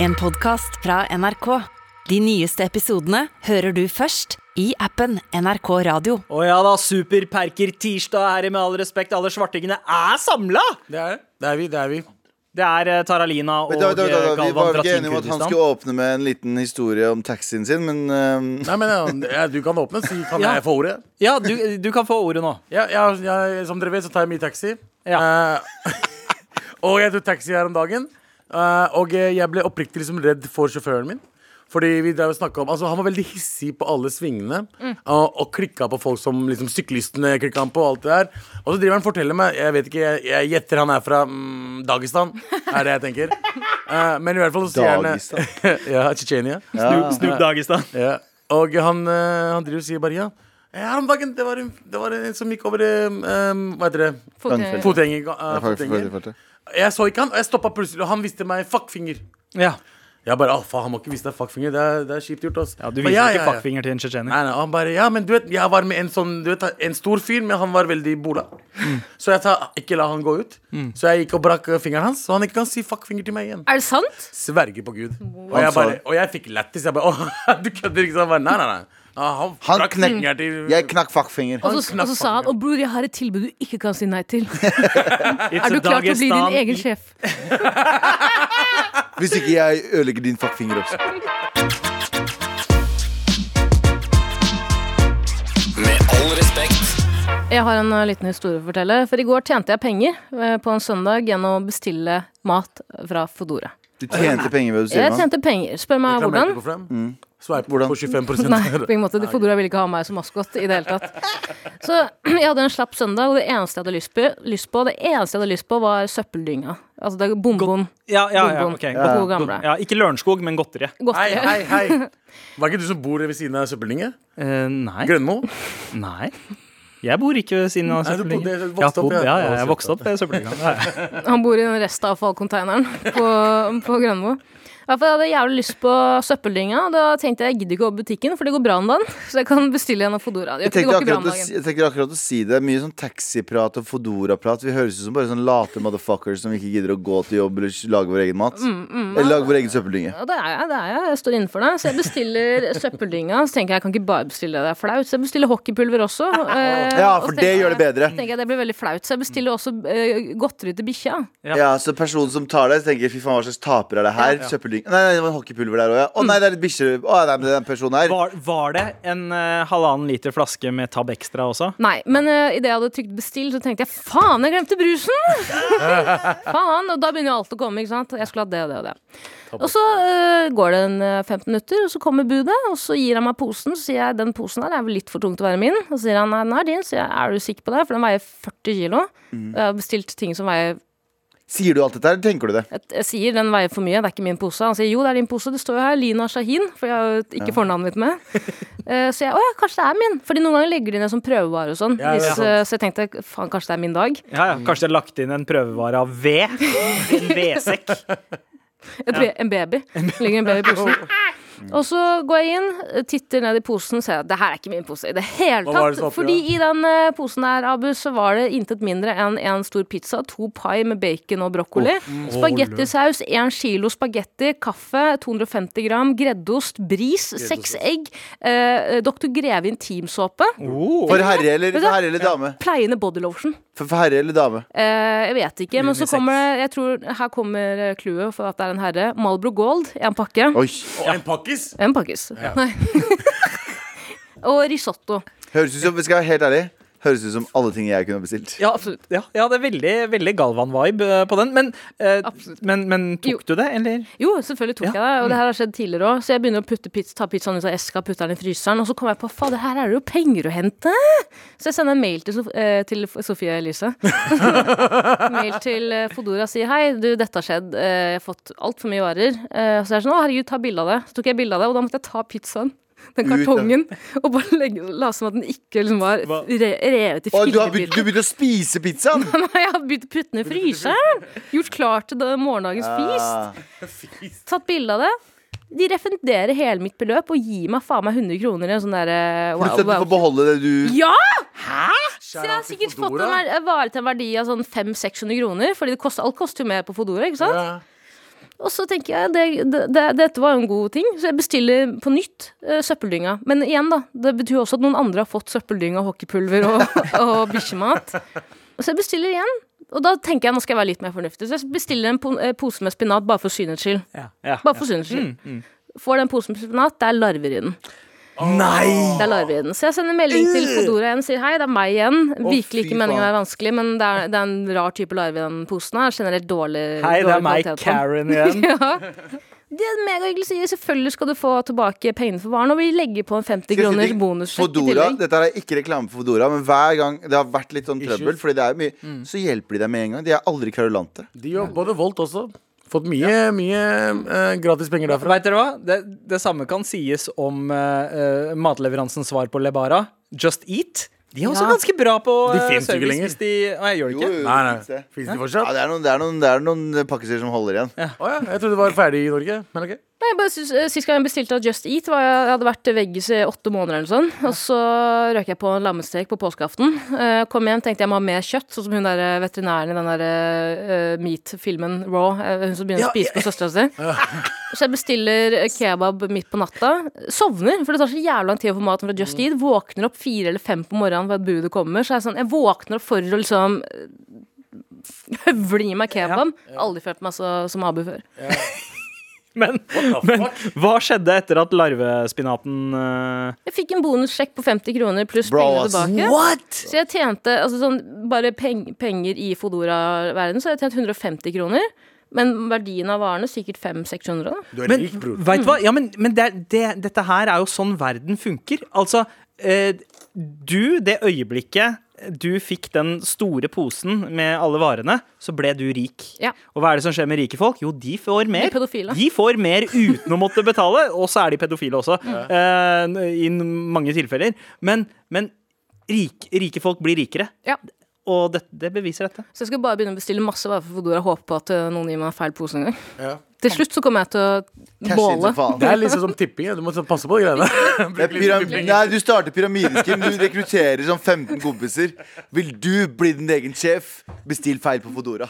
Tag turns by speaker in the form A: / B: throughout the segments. A: En podcast fra NRK. De nyeste episodene hører du først i appen NRK Radio.
B: Å ja da, superperker tirsdag er med all respekt. Alle svartingene er samla!
C: Det er det. Det er vi. det er vi
B: Det er eh, Taralina og
D: Men da, da, da,
B: eh,
D: da, vi
B: Galvan
D: var
B: fra
D: ikke
B: Team
D: enige om at han
B: Kurdistan.
D: skulle åpne med en liten historie om taxien sin, men ehm,
C: Nei, men ja, ja, Du kan åpne, så kan
B: Ja.
C: jeg få ordet.
B: Ja, du, du kan få ordet nå.
C: Ja, ja, ja, som dere vet, så tar jeg mye taxi. Eh, og jeg tok taxi her om dagen. eh, og eh, jeg ble oppriktig liksom redd for sjåføren min. Fordi vi drev og snakket om, altså Han var veldig hissig på alle svingene. Og, og klikka på folk som liksom syklistene klikka han på. Og alt det der Og så driver han og forteller meg Jeg vet ikke, jeg, jeg gjetter han er fra mm, Dagestan. Er det jeg tenker. Eh, men i hvert fall så sier han
D: Dagestan?
C: ja, Tsjetsjenia.
B: Snoop Dagestan.
C: Ja. Og han, eh, han driver og sier bare ja. Eh, Her om dagen det var en, det var en som gikk over eh, um, Hva heter det?
D: Fotgjenger.
C: Fotgjenger. eh,
D: jeg får- får- får-
C: fotgjenger.
D: får- får-
C: Jeg så ikke han, og jeg stoppa plutselig, og han viste meg fuckfinger.
B: Ja.
C: Jeg bare, «Å, faen, Han må ikke vise deg fuckfinger. Det er, det er kjipt gjort. ass
B: ja, du
C: Bare,
B: viser
C: «Ja, ja,
B: ikke
C: ja.»
B: fuckfinger til en tsjetsjener.
C: Nei, nei, han bare, ja, men du vet, jeg var med en sånn, du vet, en stor fyr, men han var veldig bola.
B: Mm.
C: Så jeg sa, ikke la han gå ut. Så jeg gikk og brakk eh, fingeren hans, så han ikke kan si fuckfinger til meg igjen.
E: Er det sant?
C: Sverger på Gud. Og
D: Han
C: jeg,
D: sa
C: bare,
D: det.
C: og jeg fikk lættis. Jeg bare Å, du kødder ikke? Så han bare Nei, nei, nei. Ah, han
D: Han
C: trakk
D: knek-
C: fingeren til
D: Jeg knakk fuckfinger.
E: Og så,
C: knapp
E: og så sa han
C: fanger.
E: Og bror, jeg har et tilbud du ikke kan si nei til.
B: It's
E: Er du klar til å
B: Dagestan
E: bli din egen
B: i-
E: sjef?
D: Hvis ikke jeg ødelegger din fuckfinger også.
F: Med all respekt.
E: Jeg har en eh, liten historie å fortelle. For i går tjente jeg penger eh, på en søndag gjennom å bestille mat fra Fodora.
D: Du tjente penger ved å si
E: Jeg
D: det.
E: tjente penger. Spør meg hvordan.
C: Reklamerte for dem. Sveip
D: Mm. Hvordan?
C: på 25
E: Nei, på ingen måte. De Fodora ville ikke ha meg som maskot i det hele tatt. Så jeg hadde en slapp søndag, og det eneste jeg hadde lyst på, lyst på, det eneste jeg hadde lyst på var søppeldynga. Altså det er bonbon.
B: Ja, ja, ja,
E: Bonbon.
B: ok.
E: Ja.
B: Godt-
E: God gamle.
B: Ja, ikke Lørenskog, men godteri.
C: Hei,
E: Godteri.
C: hei, hei. Var ikke du som bor ved siden av søppeldynget?
G: Eh, nei.
C: Grønmo?
G: nei. Jeg bor ikke ved siden av
C: Nei, du bodde-
G: søppeldynga.
C: du vokste
G: Jeg har
C: opp,
G: bodd-
C: ja.
G: Ja, ja,
C: Å,
G: jeg
C: shit,
G: vokste opp ved søppeldynga. Ja, ja.
E: Han bor i den restavfallkonteineren på, på Grønmo. I hvert fall hadde jeg jævlig lyst på søppeldynga. og Da tenkte jeg jeg gidder ikke gå på butikken, for det går bra om dagen. Så jeg kan bestille en av Fodora. Det
D: Jeg
E: gjør ikke-
D: tenkte,
E: det går ikke bra
D: akkurat
E: om
D: å, si-
E: dagen.
D: jeg tenkte akkurat å si det. Mye sånn taxiprat og Fodora-prat. Vi høres ut som bare sånn late motherfuckers som ikke gidder å gå til jobb eller lage vår egen mat.
E: Mm,
D: Eller lage vår egen søppeldynge.
E: Ja, det er jeg. det er Jeg Jeg står innenfor det. Så jeg bestiller søppeldynga. Så tenker jeg jeg kan ikke bare bestille det, det er flaut. Så jeg bestiller hockeypulver også. eh,
D: Ja,
E: og
D: for
E: så
D: det
E: tenker
D: gjør det bedre.
E: Jeg, tenker jeg det blir veldig flaut. Så jeg bestiller også eh, godteri til bikkja.
B: Ja.
D: Ja, så personen som tar deg, tenker fy faen, hva slags taper er det her? Søppeldynge. Nei, nei, det var hockeypulver der òg, ja. Å nei, det er litt bikkjer. Å nei, men den personen her.
G: Var, var det en eh, halvannen liter flaske med Tab Extra også?
E: Nei, men uh, idet jeg hadde trykt bestill, så tenkte jeg faen, jeg glemte brusen! faen, Og da begynner jo alt å komme, ikke sant. Jeg skulle hatt det og det og det. Og så eh, går det en eh, 15 minutter, og så kommer budet, og så gir han meg posen. Så sier jeg den posen her er vel litt for tung til å være min. Og så sier han nei, den er din. Så sier jeg er du sikker på det, for den veier 40 kilo. Og jeg har bestilt ting som veier
D: Sier du alt dette her, eller tenker du det?
E: jeg, jeg sier den veier for mye, det er ikke min pose. Han sier jo, det er din pose, det står jo her. Lina Shahin, for jeg har jo ikke fornavnet mitt med. Eh, så jeg å ja, kanskje det er min. Fordi noen ganger legger de ned som prøvevare og sånn.
C: Ja, det er
E: Hvis, eh, så jeg tenkte faen, kanskje det er min dag.
G: Ja, ja. Kanskje det er lagt inn en prøvevare av ved? En vedsekk?
E: Et be en baby. Ligger en baby i posen.
C: Oh.
E: Og så går jeg inn, titter ned i posen og ser at det her er ikke min pose i det hele
C: Hva var det
E: tatt.
C: som var oppi
E: Fordi i den eh, posen der, Abu, så var det intet mindre enn en stor pizza, to pai med bacon og brokkoli,
C: mm.
E: spagettisaus, én kilo spagetti, kaffe, 250 gram, greddost, bris, seks egg, eh, Dr. Greve intimsåpe,
D: For herre eller,
E: Vet du-
D: for herre eller dame?
E: pleiende body lotion.
D: For, for herre eller dame?
E: Eh, jeg vet ikke, men så kommer det Jeg tror her kommer eh, clouet for at det er en herre. Malbro Gold i en pakke.
D: Oi,
C: Og en pakkis?
E: En pakkis. Nei. og risotto.
D: høres ut som, skal jeg være helt ærlig Høres ut som alle ting jeg kunne bestilt
G: Ja, absolutt. Ja, ja, det er veldig, veldig Galvan-vibe eh, på den. Men, eh,
E: Absolutt.
G: men, men
E: Jo.
G: tok du det, eller?
E: Jo, selvfølgelig tok jeg det, og det
D: Mm.
E: her har skjedd tidligere òg. Så jeg begynner å putte pizza, ta pizzaen ut av eska, putte den i fryseren, og så kommer jeg på fader, her er det jo penger å hente. Så jeg sender en mail til, Sof eh, til Sofie Elise. mail til eh, Fodora og sier hei, du, dette har skjedd, eh, jeg har fått altfor mye varer. Eh, så jeg er sånn å herregud, ta bilde av det. Så tok jeg bilde av det, og da måtte jeg ta pizzaen.
D: Ut,
E: Den
D: ja.
E: kartongen. Og bare legge, la som at den ikke liksom var re revet i
D: Å, du har begynt, du
E: fillebiter.
D: begynte å spise pizzaen
E: Nei, jeg har begynt å putte den i fryseren. Gjort klar til det- morgendagens feast.
D: Ah,
E: Tatt bilde av det. De refunderer hele mitt beløp og gir meg faen meg 100 kroner i en sånn derre
D: Plutselig at du får
E: wow, wow.
D: beholde det du
E: Ja!
C: Så
E: Så jeg har sikkert fått en ver- vare til en verdi av sånn 500-600 kroner, fordi det koster, alt koster jo mer på Fodora, ikke sant? Og så tenker jeg, det, det, det, Dette var jo en god ting, så jeg bestiller på nytt eh, søppeldynga. Men igjen, da. Det betyr jo også at noen andre har fått søppeldynga, hockeypulver og, og bikkjemat. Så jeg bestiller igjen. Og da tenker jeg nå skal jeg være litt mer fornuftig. Så jeg bestiller en po eh, pose med spinat bare for synets skyld.
G: Ja. Mm,
E: Bare for synets skyld. Får den posen med spinat, det er larver i den.
B: Nei!
E: Det er larver i den. Så jeg sender melding
G: Øh.
E: til Fodora igjen og sier hei, det er meg igjen. Virkelig
C: fy
E: ikke meningen å
C: faen.
E: være vanskelig, men det er, det er en rar type larve i den posen her. Generelt dårlig
G: Hei, det
E: dårlig
G: er meg,
E: kvalitet på den.
G: Karen, igjen.
E: Det er megahyggelig å si. Selvfølgelig skal du få tilbake pengene for varen, og vi legger på en 50
D: Skal jeg si
E: kroners
D: ting?
E: bonussjekk i
D: Fodora,
E: tillegg.
D: Dette her er ikke reklame for Fodora, men hver gang det har vært litt sånn trøbbel, fordi det er mye,
E: Mm.
D: så hjelper de deg med en gang. De er aldri kverulante.
C: De har både voldt også. Fått mye, mye eh, gratis penger derfra.
G: Vet dere hva? Det, det samme kan sies om eh, eh, matleveransens svar på Lebara. Just Eat. De er også
E: Ja.
G: ganske bra på
C: De
G: eh,
C: finnes jo ikke
G: service
C: lenger.
G: hvis de Nei, gjør de
D: Jo,
G: ikke?
D: jo,
C: Nei,
D: finnes
C: nei.
D: det.
C: Fins de
D: Ja,
C: fortsatt?
D: det er noen, det er noen, det er noen pakkeser som holder igjen.
C: Å ja, jeg trodde det var ferdig i Norge. Men ok.
E: Nei, jeg bare synes, eh, Sist gang jeg bestilte av Just Eat, var jeg, jeg hadde vært veggis i åtte måneder. eller sånn Og så røk jeg på en lammestek på påskeaften. Eh, kom hjem, tenkte jeg må ha mer kjøtt, sånn som hun der eh, veterinæren i den der eh, Meat-filmen Raw. eh, Hun som begynner å spise på søstera si. Så jeg bestiller eh, kebab midt på natta. Sovner, for det tar så jævla lang tid å få maten fra Just Eat. Våkner opp fire eller fem på morgenen for at budet kommer. Så jeg, er sånn, jeg våkner opp for å liksom eh, høvle i meg kebab. Aldri følt meg så, som abu før.
G: Men, men hva skjedde etter at larvespinaten eh,
E: Jeg fikk en bonussjekk på 50 kroner pluss
D: Bra,
E: pengene
D: ass.
E: tilbake.
B: What?
E: Så jeg tjente altså sånn, bare peng, penger i Fodora-verdenen, så har jeg tjent 150 kroner. Men verdien av varene sikkert 500-600. da.
C: Du er
G: Men
C: rik, bror.
G: vet du
E: Mm.
G: hva? Ja, men, men det, er- det, dette her er jo sånn verden funker. Altså, eh, du, det øyeblikket du fikk den store posen med alle varene, så ble du rik.
E: Ja.
G: Og hva er det som skjer med rike folk? Jo, de får mer.
E: De pedofile.
G: De får mer uten å måtte betale, og så er de pedofile også. eh, I mange tilfeller. Men, men rik, rike folk blir rikere.
E: Ja.
G: Og det, det beviser dette.
E: Så jeg skal bare begynne å bestille masse varer for Fodora og håpe på at eh, noen gir meg feil pose en gang.
C: Ja.
E: Til slutt så kommer jeg til å
D: Cash in
E: båle.
D: som faen.
C: Det er liksom som tipping. ja. Du må så passe på de greiene.
D: Det er pyram- Nei, du starter pyramideskim. Du rekrutterer sånn 15 kompiser. Vil du bli din egen sjef? Bestill feil på Fodora.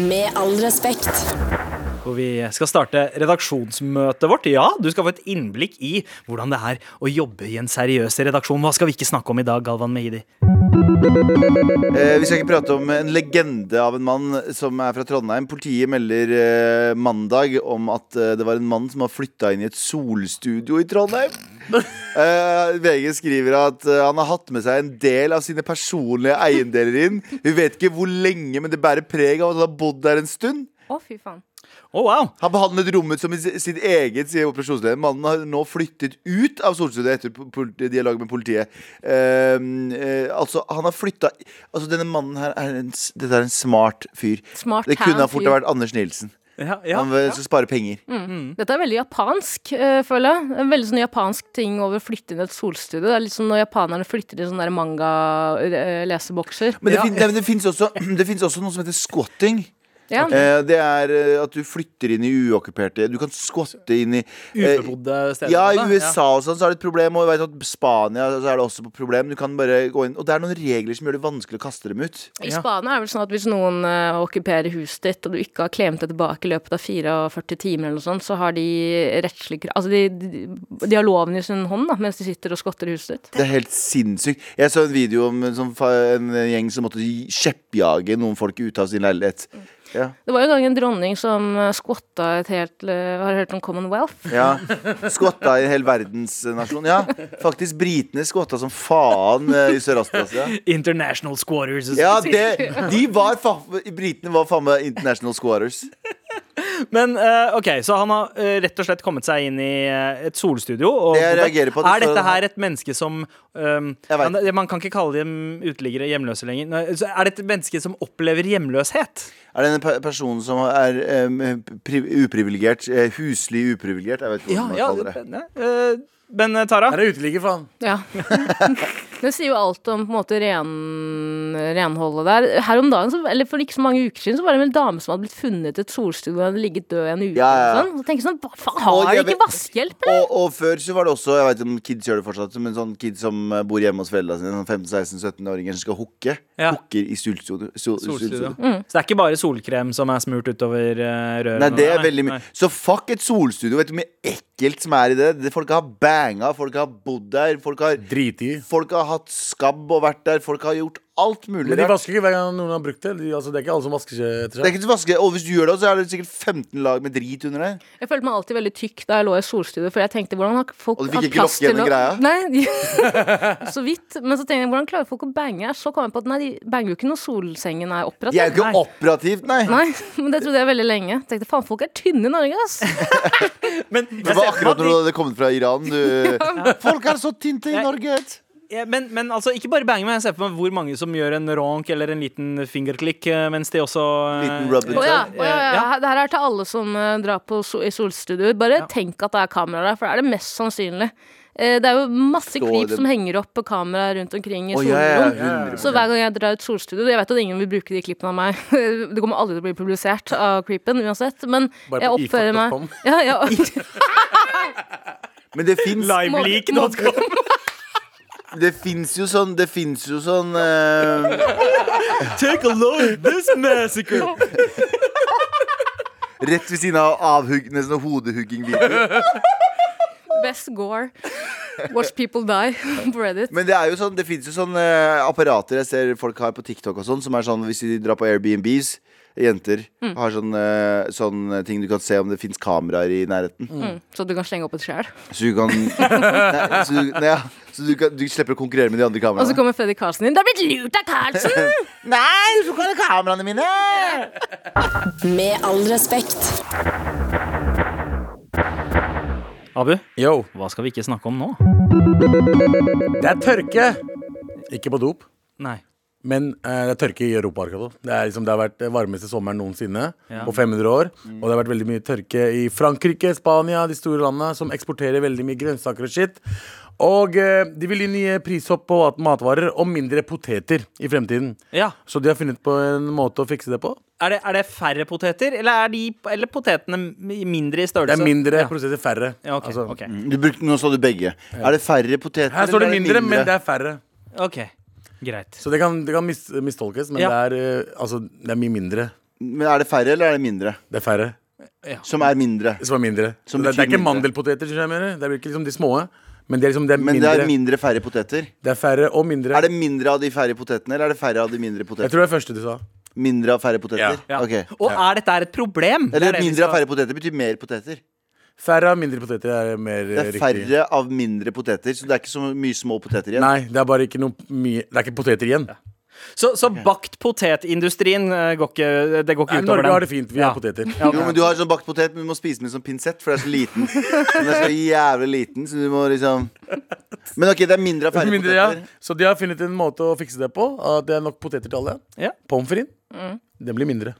A: Med all respekt.
G: Hvor vi skal starte redaksjonsmøtet vårt. Ja, du skal få et innblikk i hvordan det er å jobbe i en seriøs redaksjon. Hva skal vi ikke snakke om i dag, Galvan Mehidi?
D: Eh, vi skal ikke prate om en legende av en mann som er fra Trondheim. Politiet melder eh, mandag om at eh, det var en mann som har flytta inn i et solstudio i Trondheim. Eh, VG skriver at eh, han har hatt med seg en del av sine personlige eiendeler inn. Vi vet ikke hvor lenge, men det bærer preg av at han har bodd der en stund.
E: Å, fy faen.
G: Å, Oh, wow!
D: Han behandlet rommet som i si- sitt eget, sier operasjonsleder. Mannen har nå flyttet ut av solstudiet etter po- pol- dialog med politiet. Eh, eh, altså, han har flytta Altså, denne mannen her er en, s- Dette er en smart fyr.
E: Smart
D: det kunne
E: tan
D: ha fort ha
E: fyr. Mm.
D: vært Anders Nilsen.
G: Ja, ja.
D: Han vil så spare penger.
E: Dette er veldig japansk, eh, føler jeg. En veldig sånn japansk ting over å flytte inn i et solstudio. Det er litt som når japanerne flytter inn sånne der eh, manga-lesebokser.
D: Men det, fin, nei, men det fins også, det finnes også noe som heter squatting.
E: Ja.
D: Eh, det er eh, at du flytter inn i uokkuperte Du kan squatte inn i eh,
G: Ubebodde steder.
D: Ja, i
G: da.
D: USA og sånn så er det et problem, og jeg vet at Spania så er det også et problem. Du kan bare gå inn Og det er noen regler som gjør det vanskelig å kaste dem ut.
E: I Spania er det vel sånn at hvis noen eh, okkuperer huset ditt, og du ikke har klemt det tilbake i løpet av 44 timer eller noe sånt, så har de rettslig kra- Altså, de, de, de har loven i sin hånd da, mens de sitter og skotter i huset ditt.
D: Det er helt sinnssykt. Jeg så en video om en, sånn, fa- en gjeng som måtte skjeppjage noen folk ut av sin leilighet. Ja.
E: Det var jo en gang en dronning som eh, skvotta et helt eh, Har du hørt om Commonwealth?
D: ja. Skvatta i en hel verdensnasjon. Ja, faktisk britene skvatta som faen eh, i Sør-Asia.
G: International squatters.
D: Ja, det, de var faen Britene var faen meg international squatters.
G: Men eh, ok, så han har eh, rett og slett kommet seg inn i eh, et solstudio. Og
D: Det jeg reagerer på at
G: er
D: det står-
G: dette her et menneske som um,
D: Jeg vet.
G: han, Man kan ikke kalle dem uteliggere hjemløse lenger. Nei, så Er det et menneske som opplever hjemløshet?
D: Er det en pe- person som er um, pri uprivilegert? eh, Huslig uprivilegert? Jeg vet ikke hva man kaller det.
G: ne- eh, Men eh, Tara,
C: Her er uteligger, faen.
E: Ja. Den sier jo alt om på en måte ren, renholdet der. Her om dagen, så, eller for ikke så mange uker siden, så var det en dame som hadde blitt funnet i et solstue og hadde ligget død i en uke.
D: Ja, ja, ja.
E: Og sånn. Så tenker jeg sånn, hva faen,
D: Og
E: har
D: de
E: de
D: er
E: ikke
D: vel-
E: vaskehjelp, eller?
D: Og, og før så var det også Jeg vet ikke om kids gjør det fortsatt Men sånn kids som eh, bor hjemme hos foreldrene sine Sånn 15-16-17-åringer som skal hooke
G: Ja.
D: Hooker i solstudio sol,
G: solstudio.
D: solstudio.
G: Mm. Så det er ikke bare solkrem som er smurt utover eh, røret?
D: Nei, det er
G: Nei,
D: veldig mye
G: nei.
D: Så fuck et solstudio Vet du hvor mye ekkelt som er i det? Det- Folk har banga Folk har bodd der Folk har,
C: Drit i.
D: folk har hatt skabb og vært der Folk har gjort alt mulig
C: Men de
D: rart.
C: vasker ikke hver gang noen har brukt det. De, altså, det er ikke alle som vasker seg etter
D: Det er
C: seg.
D: ikke så vaske Og hvis du gjør det så er det sikkert 15 lag med drit under deg
E: Jeg følte meg alltid veldig tykk da jeg lå i solstudio, for jeg tenkte hvordan har folk
D: Og du fikk
E: hatt
D: ikke
E: plass
D: lokke
E: til
D: gjennom greia?
E: Nei, så vidt. Men så tenkte jeg, hvordan klarer folk å bange her? Så kom jeg på at nei, de banger jo ikke når solsengen er opprett.
D: De er jo ikke
G: Nei.
D: operativt, nei
E: Nei, men det trodde jeg veldig lenge. Tenkte faen, folk er tynne i Norge, ass.
G: Men,
D: Det
G: jeg ser for
D: var
G: meg at
D: akkurat når
G: de-
D: du hadde kommet fra Iran du, Folk er så tynte i Norge
G: Ja, men, men altså, ikke bare bange, men jeg ser på meg hvor mange som gjør en ronk eller en liten fingerklikk, eh, mens de også eh,
D: Liten rub and
E: Å ja,
D: tug.
E: å ja, ja.
G: Ja.
E: Det her er til alle som eh, drar på sol, i solstudioer. Bare tenk at det er kamera der, for det er det mest sannsynlig. Eh, det er jo masse
D: Stå i
E: klipp
D: det-
E: som henger opp på kamera rundt omkring i
D: Å, ja, ja,
E: solrom.
D: ja, 100%.
E: Så hver gang jeg drar ut solstudio Jeg vet at ingen vil bruke de klippene av meg. Det kommer aldri til å bli publisert av creepen uansett. Men
C: Bare
E: jeg
C: på
E: oppfører meg
C: ifuck.com.
E: ja, ja.
D: Men det fins
G: Liveleak.com.
D: Det fins jo sånn Det fins jo sånn eh,
G: Take a look at this massacre!
D: Rett ved siden av avhugg Nesten hodehugging-videoer.
E: Best gore. Watch people die på Reddit.
D: Men det er jo sånn Det fins jo sånn eh, apparater jeg ser folk har på TikTok og sånn, som er sånn hvis de drar på Airbnbs Jenter
G: Mm.
D: har sånn, eh, sånn ting du kan se om det fins kameraer i nærheten.
E: Mm, så du kan slenge opp et skjær.
D: Så du kan Nei, så, du, nei, ja, så du, kan, du slipper å konkurrere med de andre
E: Og så
D: kameraene.
E: kommer Freddy Karlsen inn. Det er blitt lurt av Karlsen!
D: Nei, du får ikke ha kameraene mine!
A: Med all respekt.
G: Abu,
C: Yo,
G: hva skal vi ikke snakke om nå?
C: det er tørke! Ikke på dop,
G: Nei.
C: men eh, det er tørke i Europa akkurat nå. Det, er liksom, det har vært den varmeste sommeren noensinne
G: Ja. Mm.
C: på 500 år. Og det har vært veldig mye tørke i Frankrike, Spania, de store landene som eksporterer veldig mye grønnsaker og shit. Og eh, de vil gi nye prishopp på mat- matvarer og mindre poteter i fremtiden.
G: Ja.
C: Så de har funnet på en måte å fikse det på.
G: Er det, er det færre poteter, eller er de eller potetene mi- mindre i
C: Det
G: størrelse?
C: er mindre
G: ja.
C: prosesser, færre.
G: Ja, ok,
C: Altså,
G: ok,
D: Mm, Du brukte, nå sa du begge. Er det færre poteter?
C: Her står det
D: eller er
C: mindre, men det er færre.
G: ok. Greit.
C: Så det kan, det kan mis, mistolkes, men
G: Ja.
C: det, er, eh, altså, det er mye mindre.
D: Men er det færre, eller er det mindre?
C: Det er færre
D: Som er mindre.
C: som er mindre.
D: Som
C: det, det er
D: betyr
C: ikke
D: mindre.
C: mandelpoteter, skjønner jeg mener. Det er ikke liksom de små. Men det er, liksom, det, er
D: Men
C: mindre.
D: det er mindre færre poteter.
C: det er færre og mindre.
D: Er det mindre av de færre potetene, eller er det færre av de mindre
C: Jeg
D: potetene?
C: tror det er første du sa.
D: Mindre av færre poteter?
G: Ja.
D: Ok.
G: Og er dette her et problem? Det er
D: Eller
G: det vi
D: mindre av
G: skal-
D: færre poteter betyr mer poteter.
C: Færre av mindre poteter er mer
D: Det
C: eh,
D: er
C: riktig.
D: færre av mindre poteter, så det er ikke så mye små poteter igjen.
C: Nei, det er bare ikke noe mye Det er ikke poteter igjen.
G: Så, så bakt potetindustrien eh, går ikke, det går ikke
C: Nei,
G: utover
C: Norge
G: den?
C: har det fint. Vi
G: Ja.
C: har poteter.
D: Jo, men Du har sånn bakt potet, men du må spise den med sånn pinsett, for det er så liten. Den er så jævlig liten, så du må liksom Men OK, det er mindre av færre
C: Mindre, ja.
D: poteter.
C: Så de har funnet en måte å fikse det på. At det er nok poteter til alle.
G: Ja. Mm. Ah.
C: Pommes frites, den blir mindre.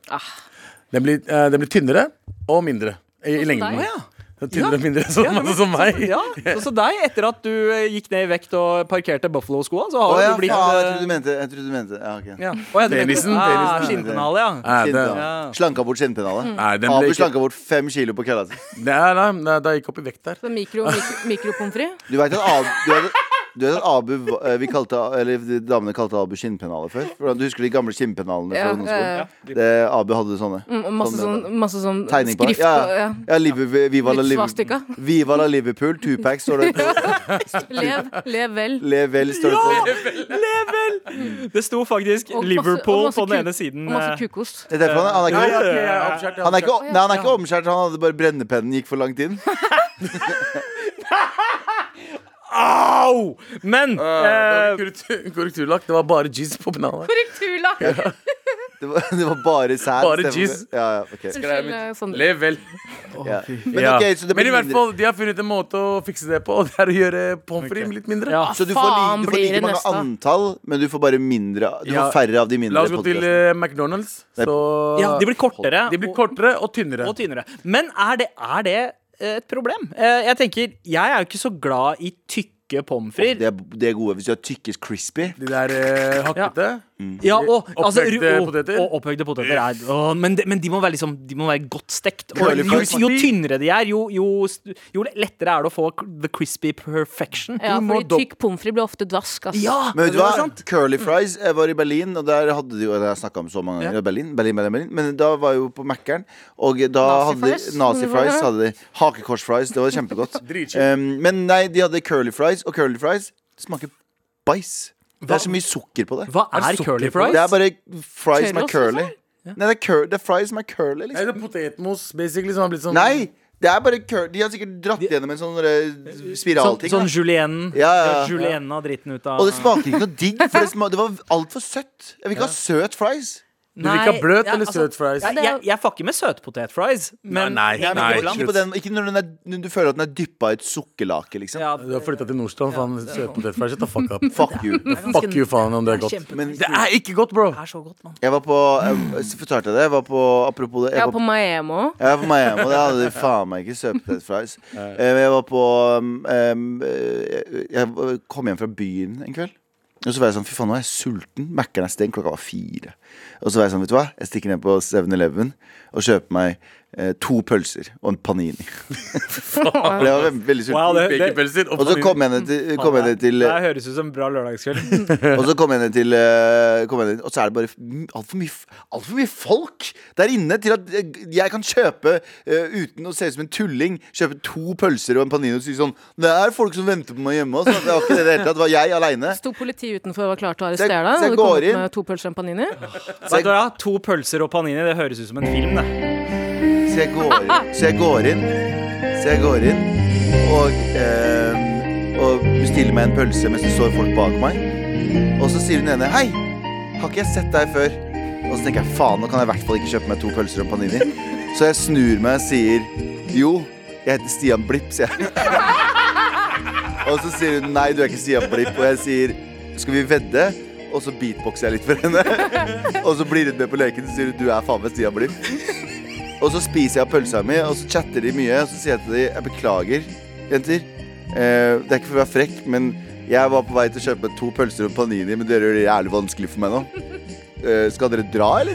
C: Den, blir, eh, den blir tynnere og mindre i, i lengden.
G: Å, ja.
C: Den er Tynnere og mindre, sånn altså, som meg.
G: Ja, så, så deg, etter at du eh, gikk ned i vekt og parkerte Buffalo-skoa, så har
D: Å ja,
G: du blitt
C: sånn,
D: faen, jeg
G: eh,
D: trodde du mente Jeg trodde du mente ja, ok.
G: ja. Å, ja, du mente-
C: Penisen,
G: Ah,
C: penisen.
G: Skinnpennale, ja.
C: Nei, det,
D: Skinnpenal.
G: Ja.
D: Slanka bort
E: Mm.
D: skinnpennalet.
C: nei, den ble
D: Abu
C: ikke,
D: slanka bort fem kilo på kølla si.
C: nei, nei, nei, da gikk jeg opp i vekt der.
E: Så mikro, mikro, mikropommes frites.
D: Du vet at Abu, du vet, at- du vet at Abu var- eh, vi kalte, eller de damene kalte Abu skinnpennaler før? For Du husker de gamle skinnpennalene?
E: Ja,
D: fra ungdomsskolen?
E: ja,
D: Det, Abu hadde sånne.
E: Mm, og Masse
D: Sånn,
E: sånn, masse sånn
D: Tegning på
E: skrift
D: ja,
E: og
D: ja.
E: ja.
D: ja Liverpool, Viva, la
E: Litt
D: Liverpool,
E: svastika.
D: Viva la Liverpool, Tupac står det på.
E: Lev, lev vel.
D: Le vel står det på.
G: Det sto faktisk
E: Og masse- og
G: Liverpool
E: masse
G: på den
E: ku-
G: ene siden.
E: Og masse
G: eh,
E: kukost.
D: Det er derfor han,
C: Ja,
D: han er ikke
C: ok, jeg er oppskjært, jeg er
D: han er ikke,
C: oppskjært.
D: nei, han er ikke omskjært, han hadde bare brennepennen gikk for langt inn.
G: Au! Men eh,
C: Korrektur- Korrekturlakk. Det var bare jizz på pennalet.
E: Korrektula!
D: Det var, det var bare sæd.
C: Bare
D: stemmer det?
C: jizz.
D: Ja, ja, ok.
E: Sånn.
C: Lev vel.
D: ja. Men,
C: Ja.
D: ok, så det
C: Men i
D: blir
C: hvert
D: mindre.
C: fall, de har funnet en måte å fikse det på, og det er å gjøre pommes frites litt mindre.
G: ja.
D: Så du får,
E: Faen,
D: li, du får
E: blir
D: like
E: det
D: mange
E: neste?
D: antall, men du får bare mindre Du
C: Ja.
D: får færre av de mindre.
C: La oss gå til
D: podcastene.
C: eh, McDonald's. Så
G: ja, de blir kortere.
C: de blir kortere og tynnere.
G: og, og tynnere. Men er det, er det eh, et problem. Eh, Jeg tenker, jeg er jo ikke så glad i tykke pommes
C: eh,
G: frites.
D: Det er, det er gode hvis du har tykkes crispy.
C: De der eh, hakkete.
D: Mm.
G: Ja, og altså,
C: Opphøyde
G: ru- og-
C: poteter?
G: Og opphøyde poteter er, å, men, de, men de må være liksom De må være godt stekt. Og
D: Curly
G: jo,
D: fries.
G: jo tynnere de er, jo, jo, st- jo lettere er det å få the crispy perfection.
E: Ja,
C: Du må
E: fordi tykk pommes frites blir ofte dvask, ass.
G: Ja,
D: Men vet du
G: det var
D: hva?
G: sant.
D: Curly
E: Mm.
D: fries. Jeg var i Berlin, og der hadde de jo Det har jeg snakka om så mange ganger. Berlin, Berlin, Berlin, Berlin. Men da var jeg jo på Mækkern, og da hadde
E: Nazi-fries.
D: de nazi-fries. Hadde de Hakekors-fries. Det var kjempegodt.
C: Dritkjipt.
D: um, men nei, de hadde curly fries, og curly fries smaker bæsj. Det er så mye sukker på det.
G: Hva
C: Er det
G: er curly
C: sukker på
G: fries?
D: Det er bare fries som er
E: Tørrlås,
D: curly. Nei, det er, cur det er fries som er curly,
C: Nei,
D: liksom.
C: det er potetmos, basically, som har blitt sånn
D: Nei! Det er bare cur De har sikkert dratt gjennom en sånn eh,
G: Sånn,
D: spiralting.
G: sånn
D: da.
G: julienne.
D: Ja, ja, ja.
G: Julienne av dritten ut av
D: og det smaker ikke noe digg, for det, sma det var altfor søtt. Jeg vil ikke ha søt fries.
C: Du vil ikke ha bløt eller
G: altså,
C: søt fries?
G: Jeg, jeg, jeg fucker med søtpotetfries, men
C: Nei,
G: Jeg-
C: nei,
G: jeg-
D: Ikke, på den, ikke når den er, når du føler at den er dyppa i et sukkerlake, liksom.
G: Ja,
C: Du har flytta til Nordstrand, faen. Søt potetfries. shut the Fuck up.
D: Fuck you.
C: Fuck you, faen, om det er godt.
D: Men
C: Det er ikke godt, bro.
G: er så godt, mann.
D: jeg var på jeg, Så fortalte jeg det. Jeg var på Apropos det.
E: Jeg
D: Jeg
E: er
D: var
E: på Maemo.
D: jeg var på Miami, og der hadde de faen meg ikke søtpotetfries. Eh, Jeg var på um, um, eh, Jeg kom hjem fra byen en kveld. Og så var jeg sånn, fy faen, nå er jeg sulten. Mækkern er stengt, klokka var fire. Og så var jeg sånn, vet du hva, jeg stikker ned på 7-Eleven og kjøper meg eh, to pølser og en panini. For jeg var veldig, veldig sulten.
G: Wow, det- Mm.
C: Baconpølser og
D: Og så kom jeg ned til, kom jeg ned til
G: Det her høres ut som en bra lørdagskveld.
D: Og så kom jeg ned til, eh, kom jeg ned, Og så er det bare altfor mye, alt for mye folk der inne til at eh, jeg kan kjøpe, eh, uten å se ut som en tulling, kjøpe to pølser og en panino og si sånn Det er folk som venter på meg hjemme. Altså. Det var ikke det i det hele tatt. Det var jeg aleine.
E: Sto politiet utenfor og var klar til å
D: Så jeg-
E: arrestere
D: så
E: deg?
D: jeg
E: og du kom
D: går
E: ut
D: inn.
E: Med to pølser og en panini?
D: Så,
G: Vet du
D: jeg-
G: hva? To pølser og panini, det høres ut som en film. Det.
D: så, jeg går- så jeg går inn, så jeg går inn og, eh, og bestiller meg en pølse mens det står folk bak meg. Og så sier hun ene Hei, har ikke jeg sett deg før? Og så tenker jeg faen, nå kan jeg i hvert fall ikke kjøpe meg to pølser og en panini. Så jeg snur meg og sier jo, jeg heter Stian Blipp, sier jeg. og så sier hun nei, du er ikke Stian Blipp. Og jeg sier skal vi vedde? Og så beatboxer jeg litt for henne. og så blir hun med på leken og sier hun, du er faen meg Stian Blipp. Og så spiser jeg av pølsa mi, og så chatter de mye. Og så sier jeg til de jeg beklager, jenter. Eh, det er ikke for å være frekk, men jeg var på vei til å kjøpe meg to pølser og en panini, men dere gjør det jævlig vanskelig for meg nå. Eh, skal dere dra, eller?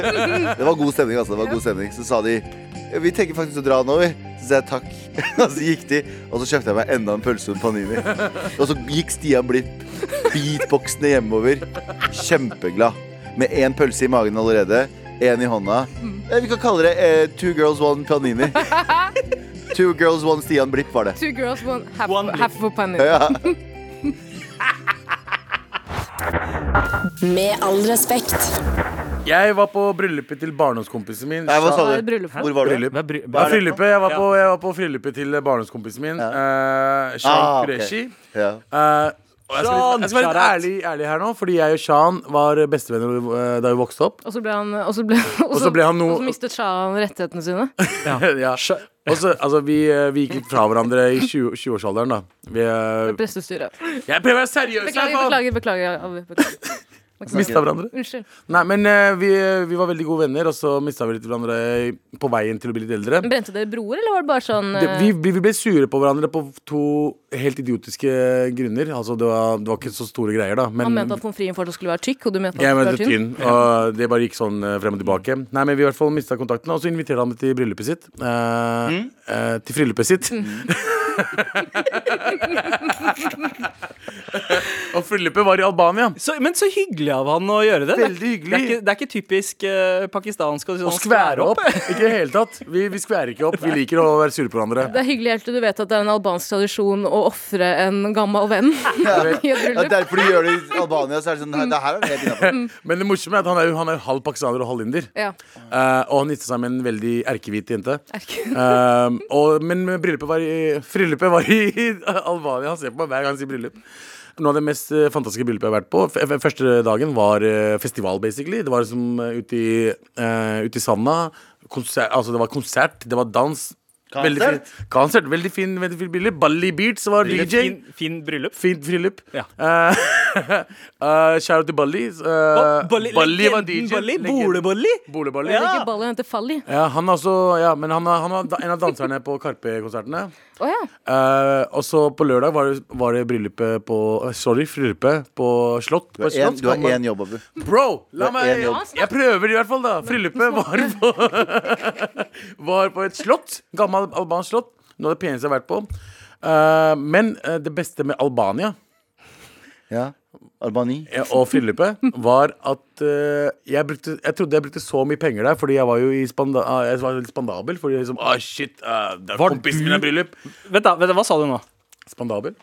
D: det var god stemning, altså. Det var god stemning. Så sa de «Ja, vi tenker faktisk å dra nå, vi. Så sa jeg takk. og så gikk de, og så kjøpte jeg meg enda en pølse og en panini. Og så gikk Stian Blipp beatboxende hjemover, kjempeglad. Med én pølse i magen allerede, én i hånda.
E: Mm.
D: Eh, Vi kan kalle det eh, Two Girls One Panini. Two Girls One Stian Blipp var det.
E: Two girls, one half,
G: One
E: half for panini.
D: Ja.
A: Med all respekt.
C: Jeg var på bryllupet til barndomskompisen min.
D: Nei, hva sa
E: Det er
D: du?
E: et bryllup.
D: Hvor var du?
C: Bryllup.
G: Hva er bry-
C: Ja,
G: hva er det?
C: bryllupet. Jeg var på, jeg var på bryllupet til barndomskompisen min, eh, Shan
D: Ah, ok.
C: Qureshi.
D: Ja.
C: Eh, og jeg
G: Shan,
C: skal, litt, jeg skal være
G: shout out.
C: litt ærlig, ærlig her nå, fordi jeg og Shan var bestevenner eh, da vi vokste opp.
E: Og så ble han Og så ble, og
C: så ble han noe-
E: og så mistet Shahan rettighetene sine.
C: ja. Og så, altså, vi, eh, vi gikk fra hverandre i 20 20-årsalderen, da. Vi, eh,
E: Prestestyret.
C: jeg prøver å være seriøs her,
E: Beklager,
C: faen!
E: beklager, beklager. Abu, beklager.
C: Mista hverandre.
E: Unnskyld.
C: Nei, men eh, vi, vi var veldig gode venner, og så mista vi litt hverandre på veien til å bli litt eldre.
E: Men Brente dere broer, eller var det bare sånn
C: det,
E: eh,
C: vi, vi vi ble sure på hverandre på to helt idiotiske grunner. Altså, det var, det var ikke så store greier, da.
E: Han
C: Men
E: mente at pommes fritesen fortsatt skulle være tykk, og du mente at
C: jeg
E: den
C: mente
E: skulle være tynn?
C: tynn, og det bare gikk sånn eh, frem og tilbake. Nei, men Vi i hvert fall mista kontakten, og så inviterte han meg til bryllupet sitt. Eh, eh, til bryllupet sitt.
E: Mm.
C: og bryllupet var i Albania.
G: Så, men så hyggelig av han å gjøre det. Det er-
C: Veldig hyggelig.
G: Det er ikke, det er ikke typisk eh, pakistansk å
C: Å skvære opp! Ikke i det hele tatt. Vi, vi skværer ikke opp. Vi liker å være sure på hverandre.
E: Det er hyggelig helt til du vet at det er en albansk tradisjon å ofre en gammel venn i et
D: Ja,
E: bryllup.
D: derfor de gjør det i Albania, så er det sånn Nei, det her er det helt innenfor.
C: Men det morsomme er at han er jo, han er jo halv pakistaner og halv inder.
E: Ja.
C: Eh, og han gifta seg med en veldig erkehvit jente.
E: Erke-
C: Um, og, men bryllupet var i, bryllupet var i Albania. Han ser på meg hver gang han sier bryllup. Noe av det mest eh, fantastiske bryllupet jeg har vært på. F f- første dagen var eh, festival, basically. Det var liksom eh, ute i, eh, ute i sanda. Konser altså, det var konsert, det var dans. Veldig
D: Concert.
C: fint. Concert, veldig fin, veldig fin bryllup. Bally Beats var
G: Eller
C: DJ.
G: Fin, fin bryllup.
C: Fint bryllup.
G: Ja.
C: Eh, eh, shout out til Bally. Eh,
G: Bolli-
C: Bally var
G: legenden
C: DJ.
G: Bolli,
C: Legenden.
G: Bolebolli.
C: Bolebolli.
G: Ja.
E: Ikke Balli, han heter Falli.
C: Ja, han er også, ja, men han, er- han var da- en av danserne på Karpe-konsertene.
E: Å ja.
C: Eh, og så på lørdag var det, var det bryllupet på eh, Sorry, bryllupet på Slott.
D: Du
C: På
D: har én-
C: slott
D: Du har
C: kan man-
D: én jobb, Abu.
C: Bro! La
D: har én
C: meg
D: jobb.
C: Jeg prøver i hvert fall, da. Bryllupet var på Var på et slott. Gammel albansk slott. Noe av det peneste jeg har vært på. Eh, men eh, det beste med Albania
D: Ja. Albani.
C: eh, og bryllupet var at eh, jeg, brukte, jeg trodde jeg brukte så mye penger der, fordi jeg var jo i spanda, ah, jeg var litt spandabel. Fordi liksom, ah shit, eh, det er
G: Var
C: kompisen
G: du-
C: min har bryllup.
G: Vent da, vent da, hva sa du nå?
C: Spandabel?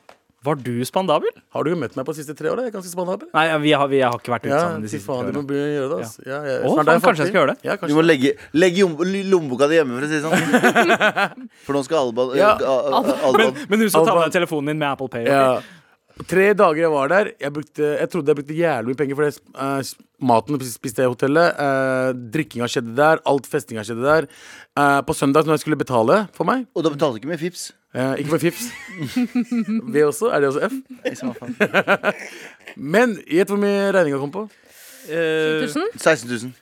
G: Var du spandabel?
C: Har du jo møtt meg på de siste tre åra? Jeg er ganske spandabel.
G: Nei, vi har, vi har ikke vært ute
C: Ja,
G: sammen de
C: fy
G: siste
C: faen, du
G: tre
C: må
G: årene.
C: begynne å gjøre det. ass. Ja, jeg-
G: Å,
C: snart er
G: faen, kanskje jeg
C: fattig.
G: skal gjøre det.
C: Ja,
D: Du
C: kanskje.
D: må legge, legg jom- lommeboka di hjemme, for å si det sånn. For nå skal Alban
C: Ja.
D: Al- Al- Alban
G: Men husk å ta
C: Alban-
G: med telefonen din med Apple Pay. ok?
C: Ja. Tre dager jeg var der, jeg, brukte, jeg trodde jeg brukte jævlig mye penger. For det, eh, s- maten spiste jeg i hotellet, eh, drikkinga skjedde der, alt festinga skjedde der. Eh, på søndag, når jeg skulle betale for meg
D: Og da betalte du ikke med Fips.
C: eh, Ikke for fips. V også? Er det også F? Men gjett hvor mye regninga kom på?
G: Eh,
E: 1000?
D: 16 000.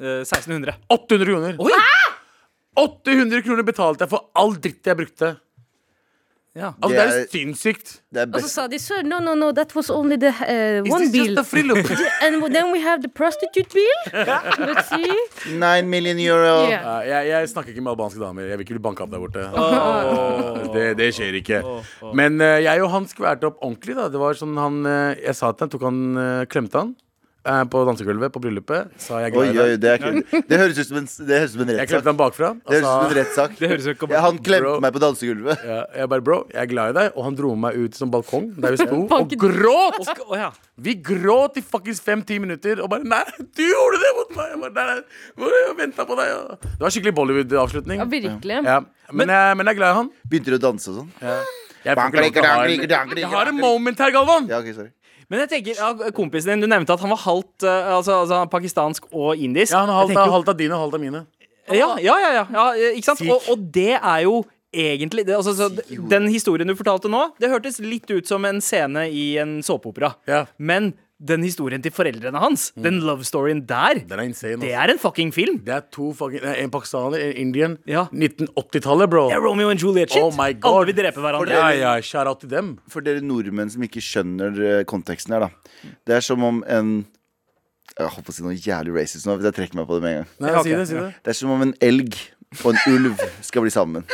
G: eh, 1600.
C: 800 kroner. 800 kroner betalte jeg for all dritt jeg brukte.
G: Ja.
C: Altså,
D: Det
C: det er
D: er-
C: jo sinnssykt.
D: Det er
E: Og så
D: best.
E: sa de sir, no, no, no, that was only the eh, one bill. And then we have the prostitute bill. Let's see.
D: 9 million euro.
E: Yeah.
C: Ja, jeg, jeg snakker ikke med albanske damer. Jeg vil ikke bli banka opp der borte. Det, det skjer ikke. Men eh, jeg og han skværte opp ordentlig. da Det var sånn han eh, Jeg sa til han, tok han eh, klemte han eh, på dansegulvet på bryllupet. Sa jeg
D: Oi,
C: glad i
D: oi,
C: deg.
D: det er kult. Det høres ut som en, det høres ut som en
C: Jeg klemte
D: rettssak.
C: han bakfra. og
D: Det høres
C: sa-
D: ut som en rettssak.
G: Det høres jo ikke
D: Ja, han
C: Bro.
D: klemte meg på dansegulvet.
C: ja, jeg bare bro, jeg er glad i deg. Og han dro meg ut som balkong der vi sto og gråt!
G: Og sk- å ja.
C: Vi gråt i fuckings fem-ti minutter og bare Nei, du gjorde det mot meg! Jeg bare, nei, nei, jeg ventet på deg og... Det var skikkelig Bollywood-avslutning.
E: Ja, virkelig.
C: Ja. Men, jeg, men jeg er glad i han.
D: Begynte du å danse og sånn?
C: Jeg, får ikke lov til å ha en- jeg har en moment her, Galvan!
D: Ja, ok, sorry.
G: Men jeg tenker, ja, kompisen din, du nevnte at han var halvt eh, altså, altså, pakistansk og indisk.
C: Ja, han
G: Jeg
C: har halvt
G: tenker
C: av,
G: jo-
C: halvt av dine og halvt av mine.
G: Ja, ja, ja, ja, ja eh, ikke sant?
C: Sikh.
G: Og, og det er jo egentlig det, altså, så, Den historien du fortalte nå, det hørtes litt ut som en scene i en såpeopera.
C: Ja. Mm.
G: Men den historien til foreldrene hans, den love storyen der,
C: Den er insane.
G: det
C: Det er,
G: er en fucking film.
C: det er to fucking nei, En pakistaner, en indian.
G: Ja.
C: 1980-tallet, bro.
G: Det er Romeo and Juliet shit.
C: Oh my god.
G: Alle vil drepe hverandre.
C: Ja, ja, shout out til dem.
D: For dere nordmenn som ikke skjønner eh, konteksten her, da. Det er som om en Jeg holdt på å si noe jævlig racist nå, hvis jeg trekker meg på det med en gang.
C: Nei,
G: Ja, ok.
C: si det, si det.
D: Det er som om en elg og en ulv skal bli sammen.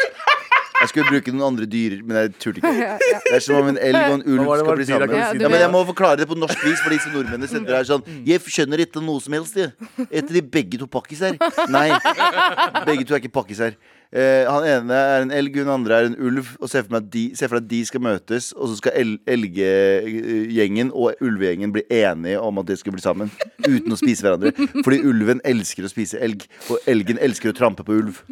D: Jeg skulle bruke noen andre dyr, men jeg turte ikke. Det er som om en elg og en ulv
C: Hva var det- hva
D: skal
C: var
D: bli
C: det Mm. dyra
D: sammen.
C: kunne
E: si
D: Ja,
E: da?
D: men jeg må forklare det på norsk vis, for disse nordmennene sitter her sånn Jeg skjønner ikke noe som helst, jeg. Etter de begge to pakkiser. Nei, begge to er ikke pakkiser. Eh, han ene er en elg, hun andre er en ulv. Og Se for, meg at de, se for deg at de skal møtes, og så skal el elgegjengen og ulvegjengen bli enige om at de skal bli sammen. Uten å spise hverandre. Fordi ulven elsker å spise elg, og elgen elsker å trampe på ulv.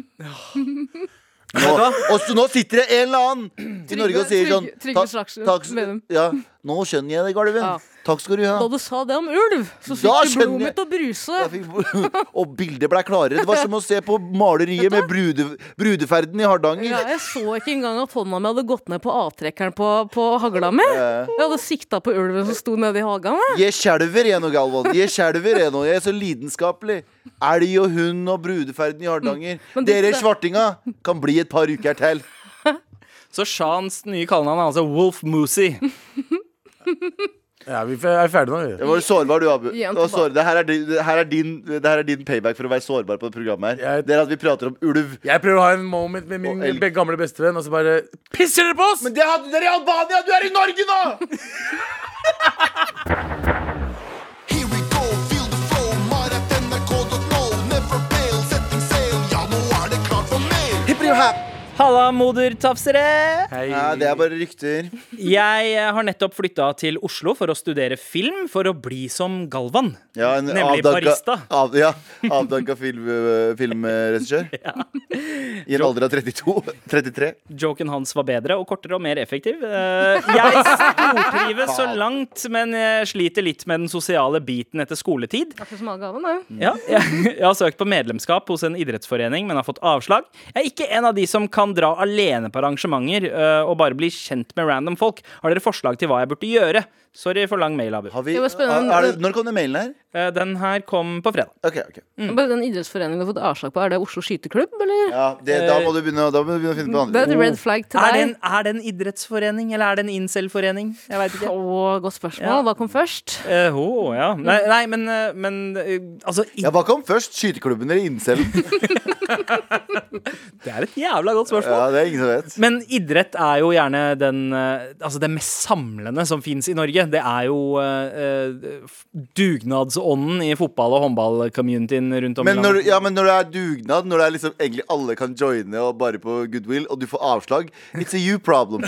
D: Nå, og så nå sitter det en eller annen i Norge og sier sånn
E: Trygve- Trygve
D: «Takk-
E: Slagsvold
D: takk-
E: Vedum.
D: Ja, nå skjønner jeg det, Galven.
E: Ja.
D: Takk skal du ha.
E: Da du sa det om ulv, så
D: Da
E: fikk du
D: skjønner
E: blodet
D: jeg-
E: mitt å bruse.
D: Jeg fikk- Og bildet blei klarere. Det var som å se på maleriet med brude, brudeferden i Hardanger.
E: Ja, jeg så ikke engang at hånda mi hadde gått ned på avtrekkeren på, på hagla mi. Jeg hadde sikta på ulven som sto nede i hagen. jeg.
D: Jeg skjelver jeg nå, Galvan. Jeg skjelver jeg nå. Jeg er så lidenskapelig. Elg og hund og brudeferden i Hardanger.
E: Mm. Men det-
D: Dere svartinga kan bli et par uker til.
G: Så Shans nye kallenavn er altså Wolf Moosey.
C: Ja, vi er ferdige nå. vi.
D: Det var sårbar, du, Abu.
E: Gi han
D: Det var
E: tilbake.
D: sår- Det her er, din, det her er din, det her er din payback for å være sårbar på det programmet her.
C: Jeg-
D: Det er at vi prater om ulv.
C: Jeg prøver å ha en moment med min
D: Og elg.
C: be- gamle bestevenn, og så bare pisser dere på oss!
D: Men det hadde dere i Albania! Du er i Norge nå!
H: Here we go, feel the flow, maratnrk.no. Never fail, setting sail. Ja, nå er det klart for mer.
G: Halla, modertafsere!
C: Hei.
D: Ja, det er bare rykter.
G: Jeg eh, har nettopp flytta til Oslo for å studere film for å bli som Galvan.
D: Ja, en
G: Nemlig
D: avdanka-
G: barista.
D: Av, ja, avdanka film, øh, filmregissør. I en alder av 32. 33.
G: Joken hans var bedre og kortere og mer effektiv. Eh, Jeg stortrives så langt, men jeg sliter litt med den sosiale biten etter skoletid.
E: Akkurat som Algaven, da.
G: Ja, jeg, jeg har søkt på medlemskap hos en idrettsforening, men har fått avslag. Jeg er ikke en av de som ka- kan dra alene på arrangementer eh, og bare bli kjent med random folk. Har dere forslag til hva jeg burde gjøre? Sorry for lang mail, Abu.
D: Har vi,
E: Det var spennende.
D: er det, når kom den mailen her?
G: Eh, Den her kom på fredag.
D: Ok, ok
E: Mm. Bare den idrettsforeningen du har fått avslag på, er det Oslo skyteklubb, eller?
D: ja, det, da, må du begynne, da må du begynne å finne på
E: Det er
D: andre
E: et red flag til
G: Er det,
E: deg.
G: en, er det en idrettsforening, eller er det en incel-forening? Jeg veit ikke.
E: Å, godt spørsmål.
G: Ja.
E: Hva kom først?
G: Eh, å, ja. Nei,
E: Mm.
G: nei men, eh, men eh, altså i-
D: ja, Hva kom først? Skyteklubben eller incelen?
G: Det er et jævla godt spørsmål.
D: Ja, det er ingen som vet
G: Men idrett er jo gjerne den eh, Altså det mest samlende som fins i Norge. Det er jo eh, eh, f- dugnadsånden i fotball- og håndballcommunityen rundt om
D: men
G: i
D: når,
G: landet.
D: ja, men når det er dugnad, når det er liksom egentlig alle kan joine og bare på goodwill, og du får avslag, it's a you problem.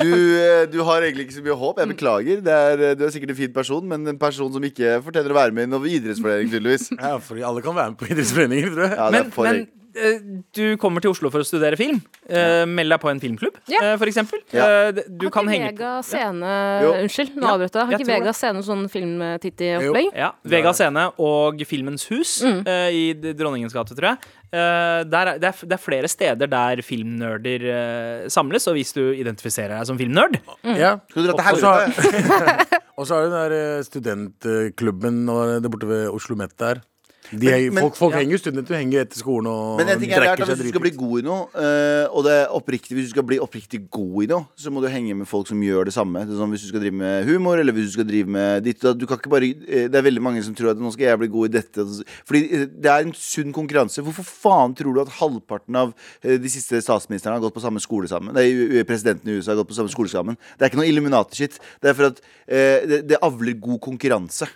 D: Du, eh, du har egentlig ikke så mye håp. Jeg beklager. Det er, eh, du er sikkert en fin person, men en person som ikke fortjener å være med i noen idrettsforening, tydeligvis.
C: Ja, fordi alle kan være med på idrettsforeninger, tror jeg.
D: Ja, det
G: Men,
D: er for
G: men eh, du kommer til Oslo for å studere film. Eh, Meld deg på en filmklubb,
E: Ja.
G: eh, for eksempel.
D: Ja.
G: Eh, d- du
E: Har
G: kan
E: ikke
G: henge på
E: Vega scene
D: Jo.
E: Unnskyld, nå
G: Ja,
E: avbrøt jeg. Har
G: jeg
E: ikke
G: tror
E: Vega
G: det.
E: scene sånn filmtitti-opplegg?
G: ja, Vega Scene og Filmens Hus
E: Mm.
G: eh, i D- Dronningens gate, tror jeg. Eh, der, er- det, er, f- det er flere steder der filmnerder eh, samles, og hvis du identifiserer deg som filmnerd
C: Ja.
D: Skal du dra
C: Og
D: til
C: så
D: helvete?
C: har- Og så er det den der eh, studentklubben og det borte ved Oslo Met der. De, heng-
D: men-
C: folk folk
D: ja.
C: henger jo studenter henger etter skolen og
D: Men en ting jeg har lært er at
C: seg
D: hvis du skal bli
C: dritings.
D: god i noe, eh, og det er oppriktig, hvis du skal bli oppriktig god i noe, så må du henge med folk som gjør det samme. Det er sånn, hvis du skal drive med humor, eller hvis du skal drive med ditt og datt, du kan ikke bare, eh, Det er veldig mange som tror at nå skal jeg bli god i dette. Fordi eh, det er en sunn konkurranse. Hvorfor faen tror du at halvparten av eh, de siste statsministrene har gått på samme skole sammen? Nei, u- presidenten i USA har gått på samme skole sammen. Det er ikke noe Illuminati-shit. Det er for at eh, det, det avler god konkurranse.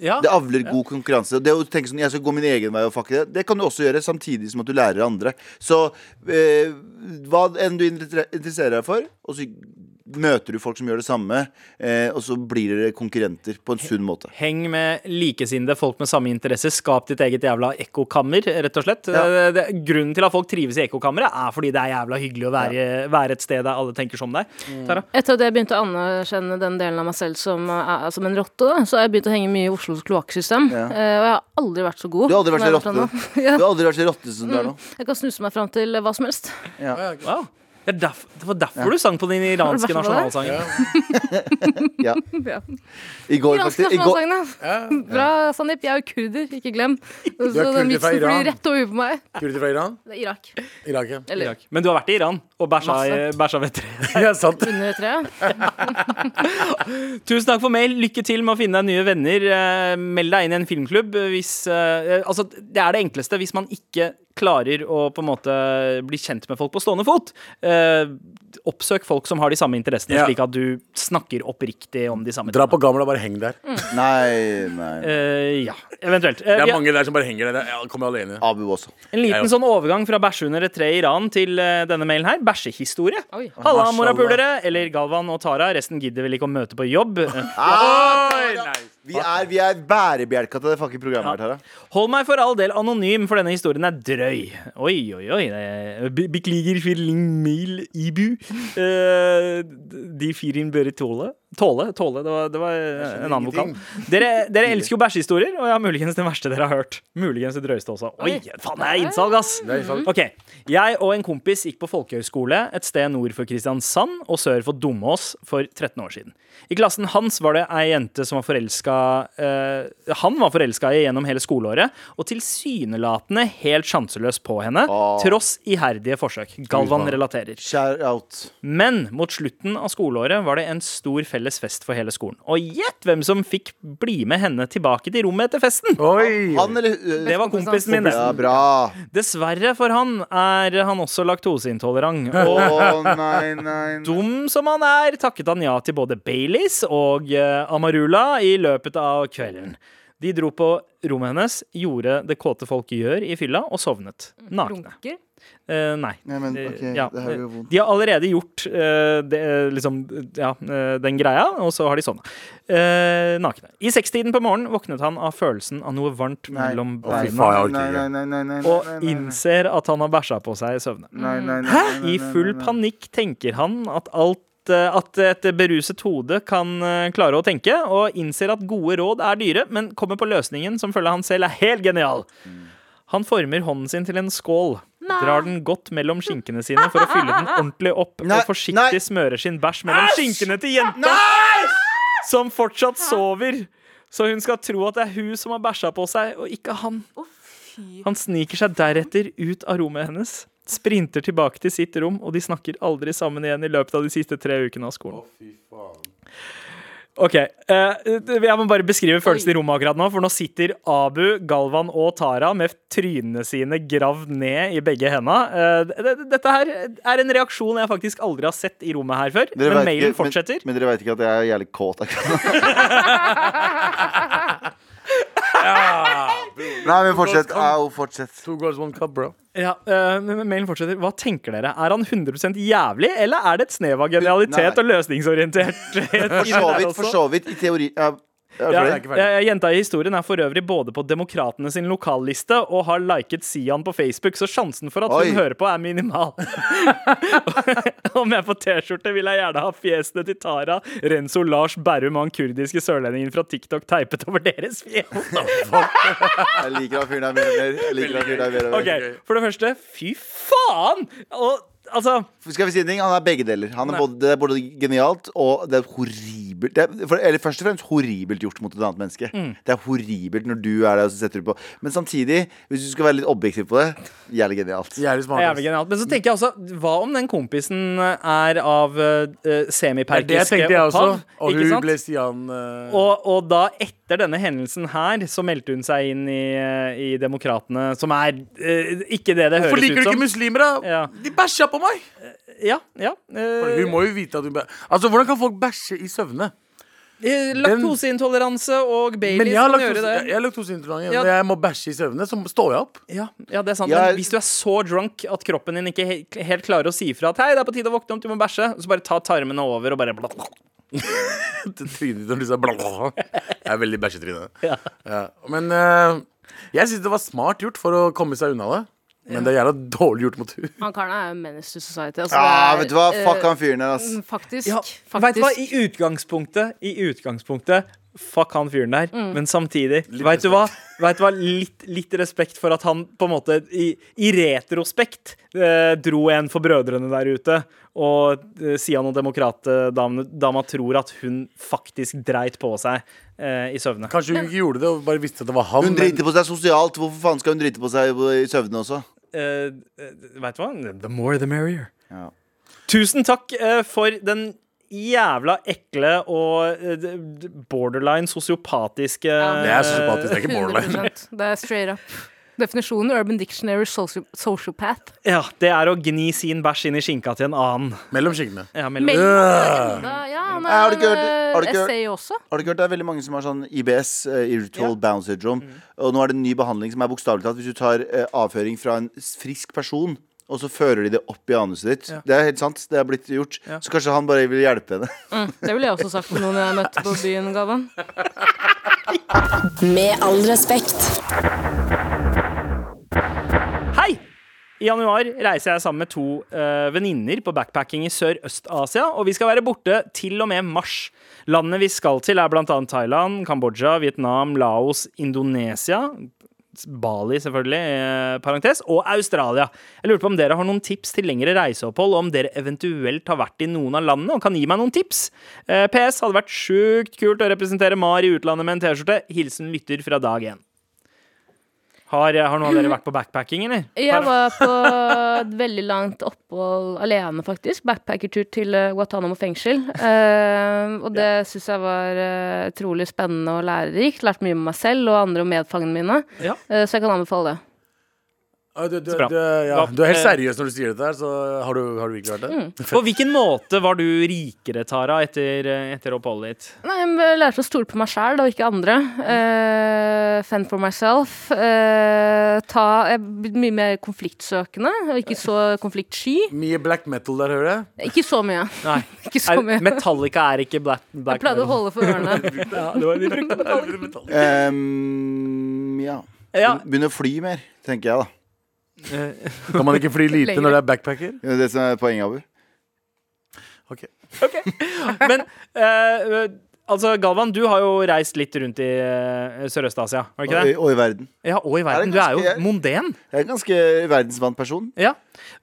G: Ja.
D: Det avler god konkurranse. Og Det å tenke sånn, jeg skal gå min egen vei og fuck det, det kan du også gjøre, samtidig som at du lærer andre. Så eh, hva enn du inter- interesserer deg for, og så møter du folk som gjør det samme, eh, og så blir dere konkurrenter på en sunn måte.
G: Heng med likesinnede folk med samme interesse. Skap ditt eget jævla ekkokammer, rett og slett. Eh,
D: Ja.
G: Det- det- Grunnen til at folk trives i ekkokammeret, er fordi det er jævla hyggelig å være, være et sted der alle tenker som deg. Tara?
E: Etter at jeg begynte å anerkjenne den delen av meg selv som, eh, er- som en rotte, da, så har jeg begynt å henge mye i Oslos kloakksystem.
D: Ja.
E: Eh, og jeg har aldri vært så god.
D: Du har aldri vært så
E: som jeg
D: rotte.
E: har vært nå. Mm.
D: Du har aldri vært så rotte som du er nå.
E: Jeg kan snuse meg fram til hva som helst.
G: Wow. Det, er derf det var derfor du sang på den iranske
E: Har du vært med
G: nasjonalsangen.
D: Ja.
E: Ja.
D: I går,
E: Iranske
D: faktisk. I går,
E: nasjonalsangene. Bra, Sandeep. Jeg er jo kurder, ikke glem. Så
C: er
E: den
C: kurder fra
E: vitsen
C: Iran.
E: blir rett over på meg.
C: Kurder fra Iran?
E: Det er Irak.
C: Irak, ja.
E: Eller
G: Men du har vært i Iran og bæsja,
E: Masse.
G: bæsja ved treet.
C: ja sant.
E: under treet.
G: Tusen takk for mail. Lykke til med å finne deg nye venner. Eh, Meld deg inn i en filmklubb. Hvis, eh, altså, det er det enkleste hvis man ikke klarer å på en måte bli kjent med folk på stående fot. Eh, oppsøk folk som har de samme interessene,
C: Ja.
G: slik at du snakker oppriktig om de samme
C: Dra på gamla, bare heng der. Det
D: nei, nei.
G: Eh, ja, eventuelt. Eh, vi
C: er
G: har
C: mange der som bare henger der. Jeg kommer alene.
D: Abu også.
G: en liten
C: Jeg
G: sånn overgang fra bæsje under et tre i Iran til eh, denne mailen her. Bæsjehistorie.
E: Oi.
G: Halla, morapulere. Eller Galvan og Tara. Resten gidder vel ikke å møte på jobb. Eh,
D: Vi er, vi er bærebjelka til det fucking programmet her, Tara.
G: Hold meg for all del anonym, for denne historien er drøy. Oi, oi, oi. det- be- Beklager for lang mail, Ibu. Eh, de firen bør tåle. Tåle, tåle. Det var, det var eh, en annen vokal. Dere, dere elsker jo bæsjehistorier, og jeg har muligens den verste dere har hørt. Muligens det drøyeste også. Oi, faen, det er innsalg, ass. Ok, Jeg og en kompis gikk på folkehøyskole et sted nord for Kristiansand og sør for Domås for 13 år siden. I klassen hans var det ei jente som var forelska eh, Han var forelska i gjennom hele skoleåret, og tilsynelatende helt sjanseløs på henne, tross iherdige forsøk. Galvan relaterer.
D: Shout out.
G: Men mot slutten av skoleåret var det en stor felles fest for hele skolen. Og gjett hvem som fikk bli med henne tilbake til rommet etter festen!
C: Oi!
D: Han eller
G: Det var kompisen min. det.
D: Ja, bra.
G: Dessverre for han er han også laktoseintolerant.
D: Å
G: Og
D: nei, nei, nei.
G: dum som han er, takket han ja til både Baileys og eh, Amarula i løpet av kvelden. De dro på rommet hennes, gjorde det kåte folk gjør i fylla, og sovnet. Nakne.
E: Runker.
G: Eh, nei.
D: Nei, men,
G: Eh,
D: ok, det her gjør vondt.
G: De har allerede gjort eh, det, liksom, ja, eh, den greia, og så har de sovna. Eh, nakne. I sekstiden på morgenen våknet han av følelsen av noe varmt
D: Nei.
G: mellom
C: Å, fy
G: beina.
C: faen, jeg orker ikke.
D: nei, nei, nei,
G: Og innser at han har bæsja på seg i søvne.
D: Hæ?
G: I full panikk tenker han at alt eh, at et beruset hode kan eh, klare å tenke, og innser at gode råd er dyre, men kommer på løsningen som følger han selv er helt genial. Han former hånden sin til en skål drar den godt mellom skinkene sine for å fylle den ordentlig opp,
D: Nei,
G: og forsiktig
D: nei.
G: smører sin bæsj mellom skinkene til jenta, som fortsatt sover. Så hun skal tro at det er hun som har bæsja på seg, og ikke han. Han sniker seg deretter ut av rommet hennes, sprinter tilbake til sitt rom, og de snakker aldri sammen igjen i løpet av de siste tre ukene av skolen. Ok, eh, Jeg må bare beskrive følelsen i rommet akkurat nå. For nå sitter Abu, Galvan og Tara med trynene sine gravd ned i begge Eh, henda. Dette her er en reaksjon jeg faktisk aldri har sett i rommet her før.
D: Dere
G: Men
D: vet
G: mailen
D: ikke-
G: fortsetter.
D: Men, men dere veit ikke at jeg er jævlig kåt akkurat nå? Nei, men fortsett. Au, fortsett.
C: Two girls, one cup, bro.
G: Ja, eh, men mailen fortsetter. Hva tenker dere? Er han 100 jævlig, eller er det et snev av
D: Nei.
G: genialitet og løsningsorienterthet? inni
D: For så
G: der
D: vidt,
G: også?
D: for så vidt. I teori ja,
G: Ja,
D: er du
C: ikke
D: ferdig?
C: ferdig.
G: eh, jenta i historien er for øvrig både på Demokratene sin lokalliste og har liket Sian på Facebook, så sjansen for at
D: Oi.
G: hun hører på, er minimal. Om jeg får T-skjorte, vil jeg gjerne ha fjesene til Tara, Renzo, Lars Berrum og han kurdiske sørlendingen fra TikTok teipet over deres fjes.
D: Jeg liker han fyren der mer og mer. Jeg liker han fyren der mer og mer.
G: Ok, For det første, fy faen! Og altså
D: Skal vi si en ting? Han er begge deler. Han er både, det er både genialt og det er horribelt det er, for, Eller først og fremst horribelt gjort mot et annet menneske.
G: Mm.
D: Det er horribelt når du er der og så setter du på. Men samtidig, hvis du skal være litt objektiv på det, jævlig genialt.
C: Jævlig smart.
G: Det er
C: ass.
G: Jævlig genialt. Men så tenker jeg også, hva om den kompisen er av eh,
C: Det er det jeg
G: semiperkiske
C: tenkte, jeg også.
G: opphav?
C: Og
G: ikke
C: hun
G: sant?
C: ble Sian eh,
G: Og, og da, etter denne hendelsen her, så meldte hun seg inn i, eh, i Demokratene, som er eh, ikke det det
C: Hvorfor
G: høres
C: liker
G: ut
C: du ikke
G: som.
C: muslimer, da?
G: Ja.
C: De bæsja på meg!
G: Ja, ja. eh,
C: Hun må jo vite at hun bæ... Altså, Hvordan kan folk bæsje i søvne?
G: eh, Laktoseintoleranse og
C: Men
G: Baileys
C: jeg har
G: kan
C: laktose-
G: gjøre
C: jeg-
G: det.
C: jeg har laktoseintolerant.
G: Ja.
C: Når jeg må bæsje i søvne, så står jeg opp.
G: Ja, ja, det er sant.
D: Jeg-
G: Men hvis du er så drunk at kroppen din ikke he helt klarer å si ifra at hei, det er på tide å våkne opp, du må bæsje, så bare ta tarmene over og bare
C: Trynet ditt når du sa bla, bla. Jeg er veldig bæsjetryne. Ja. Men eh, jeg syns det var smart gjort for å komme seg unna det. Men det er jævla dårlig gjort mot hun
E: Han karen er jo en menace to society. Altså,
D: Ah,
E: det er,
D: vet du hva?
E: eh,
D: Fuck han fyren der,
G: mm.
D: ass.
E: Faktisk.
G: Ja, vet du hva,
E: faktisk.
G: i utgangspunktet, i utgangspunktet Fuck han fyren der,
E: Mm.
G: men samtidig Vet du hva? Vet du hva? Litt, litt respekt for at han på en måte i, i retrospekt eh, dro en for brødrene der ute. Og eh, Sian og demokratdama tror at hun faktisk dreit på seg eh, i søvne.
C: Kanskje hun ikke gjorde det og bare visste at det var han.
D: Hun driter på seg sosialt. Hvorfor faen skal hun drite på seg i søvne også?
G: Eh, eh, vet du hva? The more the merrier.
D: Ja.
G: Tusen takk eh, for den jævla ekle og eh, d- d- borderline sosiopatiske
E: Ja,
C: det er sosiopatisk, det er ikke borderline.
E: 100%. Det er straight up. Definisjonen Urban Dictionary soci- sociopath.
G: Ja, det er å gni sin bæsj inn i skinka til en annen.
C: Mellom skinkene.
G: Ja,
E: Men,
G: mellom.
E: enda, ja, han
D: Har
E: er
D: du ikke hørt- har
E: en
D: du
E: eh,
D: ikke hørt-
E: essay også.
D: Har du ikke hørt det er veldig mange som har sånn IBS, eh, irritable bowel syndrome,
G: Mm.
D: og nå er det en ny behandling som er bokstavelig talt hvis du tar eh, avføring fra en s- frisk person, og så fører de det opp i anuset ditt. Det er helt sant. Det er blitt gjort. Så kanskje han bare vil hjelpe henne.
E: Det ville jeg også sagt til noen jeg møtte på byen, Galvan.
A: Med all respekt.
G: Hei! I januar reiser jeg sammen med to uh, venninner på backpacking i Sørøst-Asia, og vi skal være borte til og med mars. Landene vi skal til, er bl.a. Thailand, Kambodsja, Vietnam, Laos, Indonesia Bali, selvfølgelig, eh, parentes, og Australia. Jeg lurte på om dere har noen tips til lengre reiseopphold, og om dere eventuelt har vært i noen av landene og kan gi meg noen tips. Eh, PS hadde vært sjukt kult å representere Mar i utlandet med en T-skjorte. Hilsen lytter fra dag én. Har, har noen av dere vært på backpacking, eller?
E: Jeg var på et veldig langt opphold alene, faktisk. Backpackertur til eh, Guantánamo fengsel. Eh, og det syns jeg var eh, utrolig spennende og lærerikt. Lært mye om meg selv og andre om medfangene mine.
G: Ja.
E: Eh, så jeg kan anbefale det.
C: Ah, Du, du,
G: bra.
C: du, ja.
G: Hva-
C: du er helt
G: eh,
C: seriøs når du sier dette her, så har du, har du virkelig vært det?
G: På hvilken måte var du rikere, Tara, etter, etter oppholdet ditt?
E: Nei, jeg lærte å stole på meg sjæl og ikke andre. Eh, fend for myself. Eh, ta, jeg ble mye mer konfliktsøkende og ikke så konfliktsky.
C: Mye black metal der, hører jeg.
E: Ikke så mye.
G: Nei.
E: Ikke så mye.
G: Metallica er ikke black,
E: Jeg pleide å holde for ørene.
G: Ja, det var de brukte Metallica.
D: Ehm, ja.
G: Ja, eh,
D: Begynne å fly mer, tenker jeg, da.
C: Kan man ikke fly lite
E: Lenger.
C: når det er backpacker?
D: Det er det som er poenget, Abu.
G: men eh, altså, Galvan, du har jo reist litt rundt i eh, Sørøst-Asia, har du ikke
D: Og,
G: det?
D: i- og i verden.
G: Ja, og i
D: Er det
G: verden. Du er
D: ganske-
G: jo monden.
D: Jeg er en ganske verdensvant person.
G: Ja.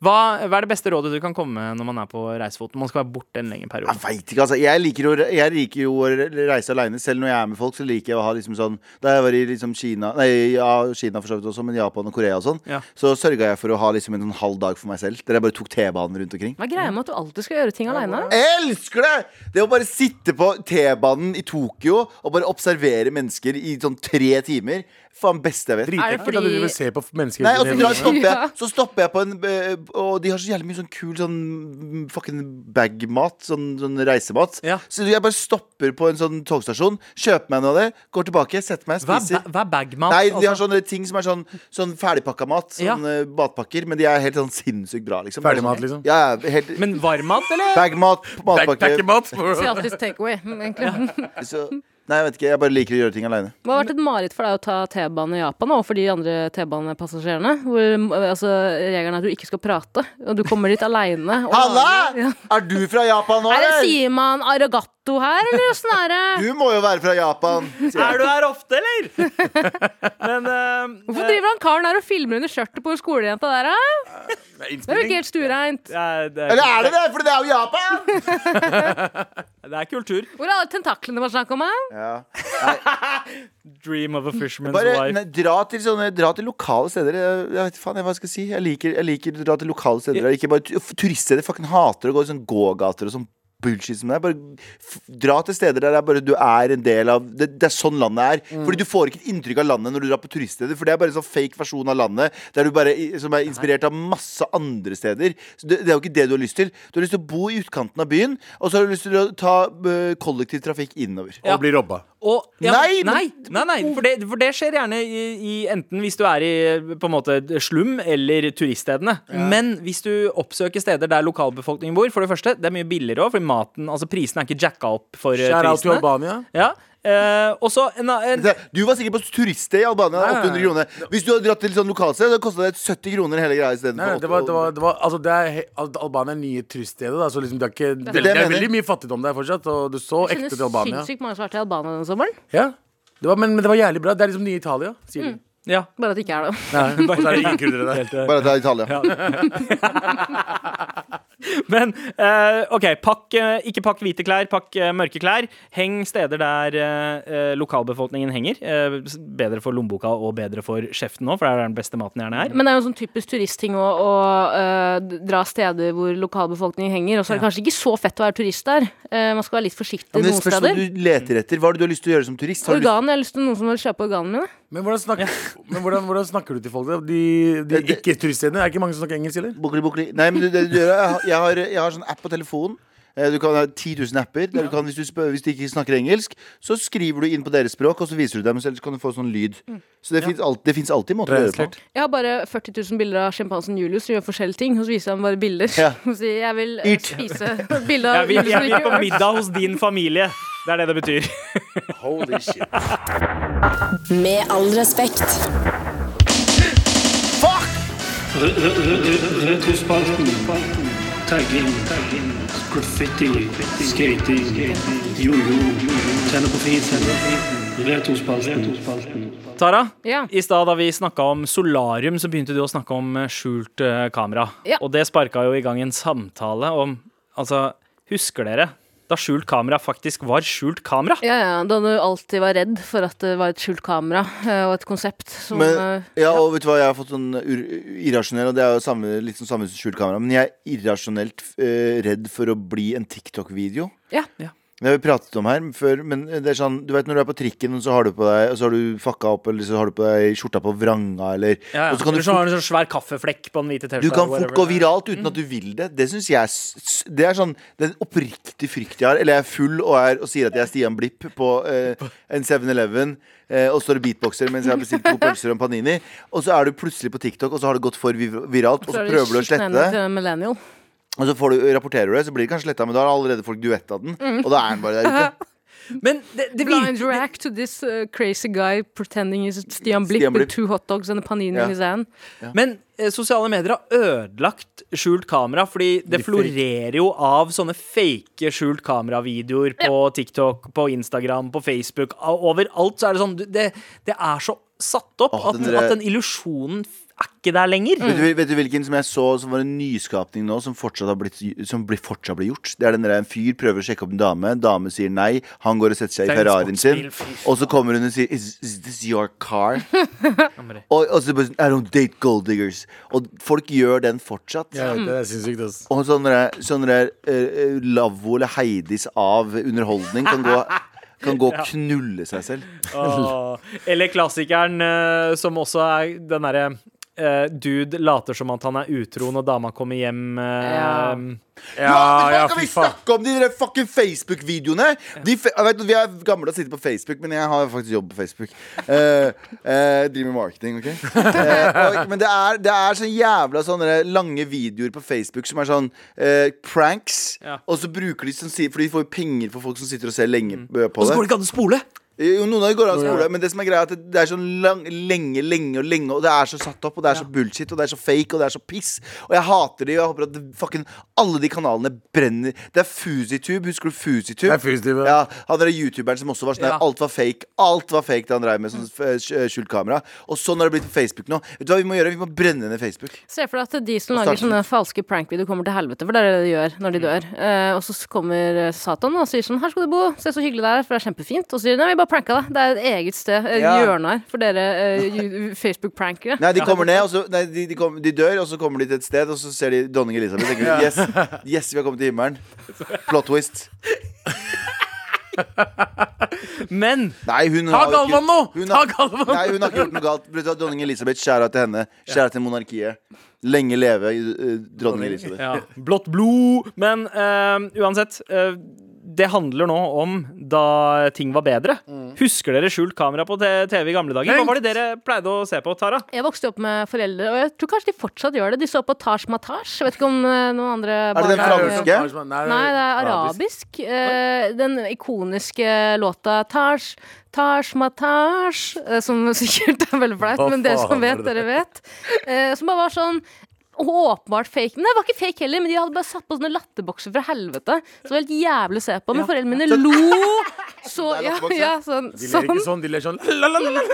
G: Hva, hva er det beste rådet du kan komme med når man er på reisefot? Man skal være borte en lengre periode.
D: Jeg veit ikke, altså. Jeg liker, jo, jeg liker jo å reise aleine. Selv når jeg er med folk, så liker jeg å ha liksom sånn Da jeg var i liksom Kina Nei, ja, Kina for så vidt også, men Japan og Korea og sånn,
G: Ja.
D: så sørga jeg for å ha liksom en sånn halv dag for meg selv. Der jeg bare tok T-banen rundt omkring.
E: Hva er greia med at du alltid skal gjøre ting aleine?
D: Jeg elsker det! Det å bare sitte på T-banen i Tokyo og bare observere mennesker i sånn tre timer. Faen, beste jeg vet.
E: Er det
C: Dritekkelt at du
E: fordi-
C: driver og ser på mennesker.
D: Nei, altså, og så, drar, stopper
E: Ja.
D: jeg, så stopper jeg på en eh, Og de har så jævlig mye sånn kul sånn mm, fucking bag-mat. Sånn, sånn reisemat.
G: Ja.
D: Så jeg bare stopper på en sånn togstasjon, kjøper meg noe av det, går tilbake, setter meg,
G: Hva er,
D: spiser.
G: ba- hva er bagmat?
D: Nei, de har
G: altså?
D: sånne ting som er sånn, sånn ferdigpakka mat.
G: Ja.
D: Sånn eh, matpakker. Men de er helt sånn sinnssykt bra, liksom.
C: Ferdigmat, liksom?
D: Ja, ja, helt
G: Altså, Men varmmat, eller?
D: Bagmat, matpakke
C: Packemat.
E: Asiatisk takeaway, mm, egentlig.
D: så, Nei, jeg vet ikke. Jeg bare liker å gjøre ting aleine.
E: Hva har vært et mareritt for deg å ta T-banen i Japan, og for de andre T-banepassasjerene? Hvor eh, altså, regelen er at du ikke skal prate, og du kommer dit aleine.
D: Halla! Er du fra Japan nå,
E: Er det
D: eller?
E: sier man arigato her, eller åssen er det?
D: Du må jo være fra Japan. sier jeg.
G: Er du her ofte, eller? Men eh,
E: Hvorfor driver han karen der og filmer under skjørtet på skolejenta der, hæ? Det er jo ikke helt stuereint.
G: eh, det,
D: Eller
G: er,
D: er det det? For det er jo Japan!
G: det er kultur.
E: Hvor er alle tentaklene det var snakk om, hæ?
D: Ja.
G: Dream of a fisherman's
D: Bare
G: wife.
D: nei, dra, til sånne, dra til lokale steder. Jeg, jeg vet faen jeg, hva jeg skal si. Jeg liker, jeg liker å dra til lokale steder. Ikke bare tu- f- turiststeder. Fucking hater å gå i sånn gågater og sånn bullshit som det er. Bare f dra til steder der det er bare du er en del av Det, det er sånn landet er. Fordi du får ikke et inntrykk av landet når du drar på turiststeder. For det er bare en sånn fake versjon av landet der du bare, i- som er inspirert av masse andre steder. Så det, det er jo ikke det du har lyst til. Du har lyst til å bo i utkanten av byen, og så har du lyst til å ta øh, kollektivtrafikk innover.
C: Og blir robba.
G: Og,
D: Nei,
G: nei,
D: men-
G: nei, nei for, det, for det skjer gjerne i, i enten hvis du er i på en måte slum eller turiststedene. Men hvis du oppsøker steder der lokalbefolkningen bor, for det første, det er mye billigere òg, fordi maten, altså prisene er ikke jacka opp for eh,
C: Shout out til
G: turistene.
C: Albania.
G: Ja. Eh, og så en, en
D: Se, Du var sikkert på turiststed i Albania. 800 kroner Hvis du hadde dratt til sånn lokalsted, hadde det kosta deg 70 kroner hele greia
C: Nei, nei, det var, det
D: istedenfor.
C: var, det var, altså det er, he- Al- Albania er nye turiststedet. Da, så liksom det, er ikke, det,
D: det
C: det er
D: jeg mener.
C: veldig mye fattigdom der fortsatt. Og du så ekte til Albania.
E: sinnssykt mange som har vært i Albania denne sommeren.
C: Ja. Det var, men, men det var jævlig bra. Det er liksom nye Italia, sier de.
G: Ja.
E: Bare at det ikke er Mm. det.
C: Nei, og så er det ingen kurdere der.
D: Bare at det er Italia.
G: Men eh, OK, pakk, eh, ikke pakk hvite klær, pakk eh, mørke klær. Heng steder der eh, eh, lokalbefolkningen henger. Eh, s- bedre for lommeboka og bedre for kjeften òg, for det er der den beste maten gjerne er.
E: Men det er jo en sånn typisk turistting å, å øh, d- dra steder hvor lokalbefolkningen henger. Og så er det kanskje ikke så fett å være turist der. Eh, man skal være litt forsiktig
D: Men det
E: noen
D: spørs hva
E: steder.
D: du leter etter. Hva er det du har lyst til å gjøre som turist? Har du lyst
E: Organ, jeg har lyst til noen som vil kjøpe organene mine.
C: Men, hvordan snakker, men hvordan, hvordan snakker du til folk? da? De, de
D: Det- det-
C: ikke-turiststedene? Er ikke mange som snakker engelsk, eller?
D: Bukli, bukli. Nei, men det, det du gjør, er- jeg, har- jeg, har, jeg har sånn app på telefonen. Eh, Du kan ha 10 000 apper. Der du kan, hvis, du spør, hvis du ikke snakker engelsk, så skriver du inn på deres språk, og så viser du dem. Så ellers kan du få sånn lyd. Så det fins alltid, det finnes alltid måter å gjøre det på.
E: Jeg har bare 40 000 bilder av sjimpansen Julius som gjør forskjellige ting. Og så viser han bare bilder.
D: Ja.
E: Og sier jeg vil eh,
D: Eat.
E: spise bilde
G: Jeg
E: av
G: vil,
E: Julius
G: jeg
E: som
G: vil på
E: ikke gjør
G: middag hos din familie. Det er det det betyr.
D: Holy shit.
A: Med all respekt.
I: Retrospalten. Tagging. Graffiti. Skating. Jojo. Tenne på fisen. Retrospalten.
G: Tara,
E: Ja.
G: i stad da vi snakka om solarium, så begynte du å snakke om eh, skjult eh, kamera.
E: Ja.
G: Og det sparka jo i gang en samtale om Altså, husker dere da skjult kamera faktisk var skjult kamera?
E: Ja, ja, da du alltid var redd for at det var et skjult kamera eh, og et konsept som
D: Men,
E: eh,
D: ja, og vet du hva, jeg har fått sånn ur irrasjonell, og det er jo samme, litt sånn samme som skjult kamera, men jeg er irrasjonelt eh, redd for å bli en TikTok-video.
E: Ja.
G: Ja.
D: Det har vi pratet om her før, men det er sånn, du vet når du er på trikken, og så har du på deg, og så har du fucka opp, eller så har du på deg skjorta på vranga, eller
G: Ja, ja.
D: Og så kan du
G: Eller så
D: fort,
G: har du en sånn svær kaffeflekk på den hvite T-skjorta.
D: du kan
G: whatever
D: fort gå
G: det er.
D: viralt uten at du vil det. Det synes jeg s- s- Det er sånn den oppriktige frykt jeg har. Eller jeg er full og, er, og sier at jeg er Stian Blipp på eh, en 7-Eleven eh, og står og beatboxer mens jeg har bestilt to pølser og en panini. Og så er du plutselig på TikTok, og så har det gått for vi- viralt, og så
E: er
D: prøver du å slette
E: skitten hendene
D: det.
E: til en eh, millennial.
D: Og så får du, rapporterer du det, så blir det kanskje sletta, men da har allerede folk duetta den. Og da er den bare der ute.
G: Men det, det
E: Blind
G: virker
E: react to this uh, crazy guy pretending he's Stian Blipp
D: Stian
E: with
D: Blipp.
E: two hot dogs and a panini
D: Ja.
E: in his hand.
G: Men eh, sosiale medier har ødelagt skjult kamera, fordi det
C: De
G: florerer jo av sånne fake skjult kamera-videoer på TikTok, på Instagram, på Facebook. A- Overalt så er det sånn du- Det, det er så satt opp
D: Åh,
G: at,
D: den
G: den-
D: der-
G: at den illusjonen f- er ikke der lenger.
D: Vet, du, vet du hvilken som jeg så som var en nyskapning nå, som fortsatt, har blitt, som blir, fortsatt blir gjort? Det er den der en fyr prøver å sjekke opp en dame, dame sier nei, han går og setter seg i Ferrarien sin, og så kommer hun og sier Is, is this your car? og, og så bare sånn I don't date gold diggers. Og folk gjør den fortsatt.
C: Jeg vet det,
E: Mm.
C: det er sinnssykt, ass.
D: Og sånne, der- sånne der, eh, eh, lavvo eller Heidis av underholdning kan gå, kan gå og knulle seg selv.
G: Åh, Eller klassikeren eh, som også er den derre eh, Dude later som at han er utro når dama kommer hjem. eh,
E: Ja.
C: Ja, ja,
D: Nå kan
C: fy
D: vi
C: faen.
D: snakke om de der fucking Facebook-videoene! De fe- jeg vet, vi er gamle og sitter på Facebook, men jeg har faktisk jobb på Facebook. Eh, eh, jeg driver med marketing, OK? Eh, og, men det er, det er så jævla sånne der lange videoer på Facebook som er sånn eh, pranks. Og så bruker de sånn si- For de får jo penger for folk som sitter og ser lenge eh, på
G: Så
D: det.
G: går det ikke an å spole!
D: Jo, noen av dem går an å spole, men det som er greia er at det- det er sånn lang, lenge, lenge og lenge, og det er så satt opp, og det er så bullshit, og det er så fake, og det er så piss. Og jeg hater de, og jeg håper at det, fucking alle de kanalene brenner. Det er Fusitube, husker du
C: Det
D: Fusitube?
C: er Fusitube, ja.
D: Ja, han der youtuberen som også var sånn der, alt var fake. Alt var fake det han drev med, sånn eh, skj- skjult kamera. Og sånn har det blitt på Facebook nå. Vet du hva vi må gjøre? Vi må brenne ned Facebook.
E: Se for deg at de som
D: Og
E: lager
D: starten. Mm.
E: sånne falske prankvideoer, kommer til helvete. For det er det de gjør når de dør. Eh, og så kommer eh, Satan og sier sånn Her skal du bo. Se så hyggelig det er, for det er kjempefint. Og så sier de nei, vi bare pranka deg. Det er et eget sted. Et
D: Ja.
E: hjørne her for dere eh, you- Facebook-prankere.
D: Nei, de kommer ned, og så Nei, de, de, kom, de dør, og så kommer de til et sted, og så ser de dronning Elisabeth. og Tenker, yes, yes, vi har kommet til himmelen. Plot twist.
G: Men
D: Nei, hun
C: Ta
D: har jo
C: Galvan nå!
D: Hun
C: Ta
D: har,
C: Galvan!
D: nei, hun har ikke gjort noe galt. Vet du hva, Dronning Elisabeth, skjæra til henne. Skjæra til monarkiet. Lenge leve eh, dronning Elisabeth.
G: Ja. Blått blod. Men eh, uansett. eh, det handler nå om da ting var bedre.
C: Mm.
G: Husker dere skjult kamera på te- TV i gamle dager? Hva var det dere pleide å se på, Tara?
E: Jeg vokste opp med foreldre, og jeg tror kanskje de fortsatt gjør det. De så på Taj Matash. Jeg vet ikke om eh, noen andre
D: Er det den
E: barn-
D: franske?
E: Nei, det er arabisk. Eh, den ikoniske låta Taj, Taj Matash, eh, som sikkert er veldig flaut,
C: Hva
E: men dere som
C: faen er
E: vet,
C: det?
E: dere vet. Eh, som bare var sånn Åpenbart fake. Men det var ikke fake heller, men de hadde bare satt på sånne latterbokser fra helvete. Så det var helt jævlig å se på. Men foreldrene mine lo
D: Det
E: så
D: er
E: ja,
D: latterbokser.
E: ja, sånn,
C: De ler
E: sånn.
C: ikke sånn, de ler sånn la, la, la, la.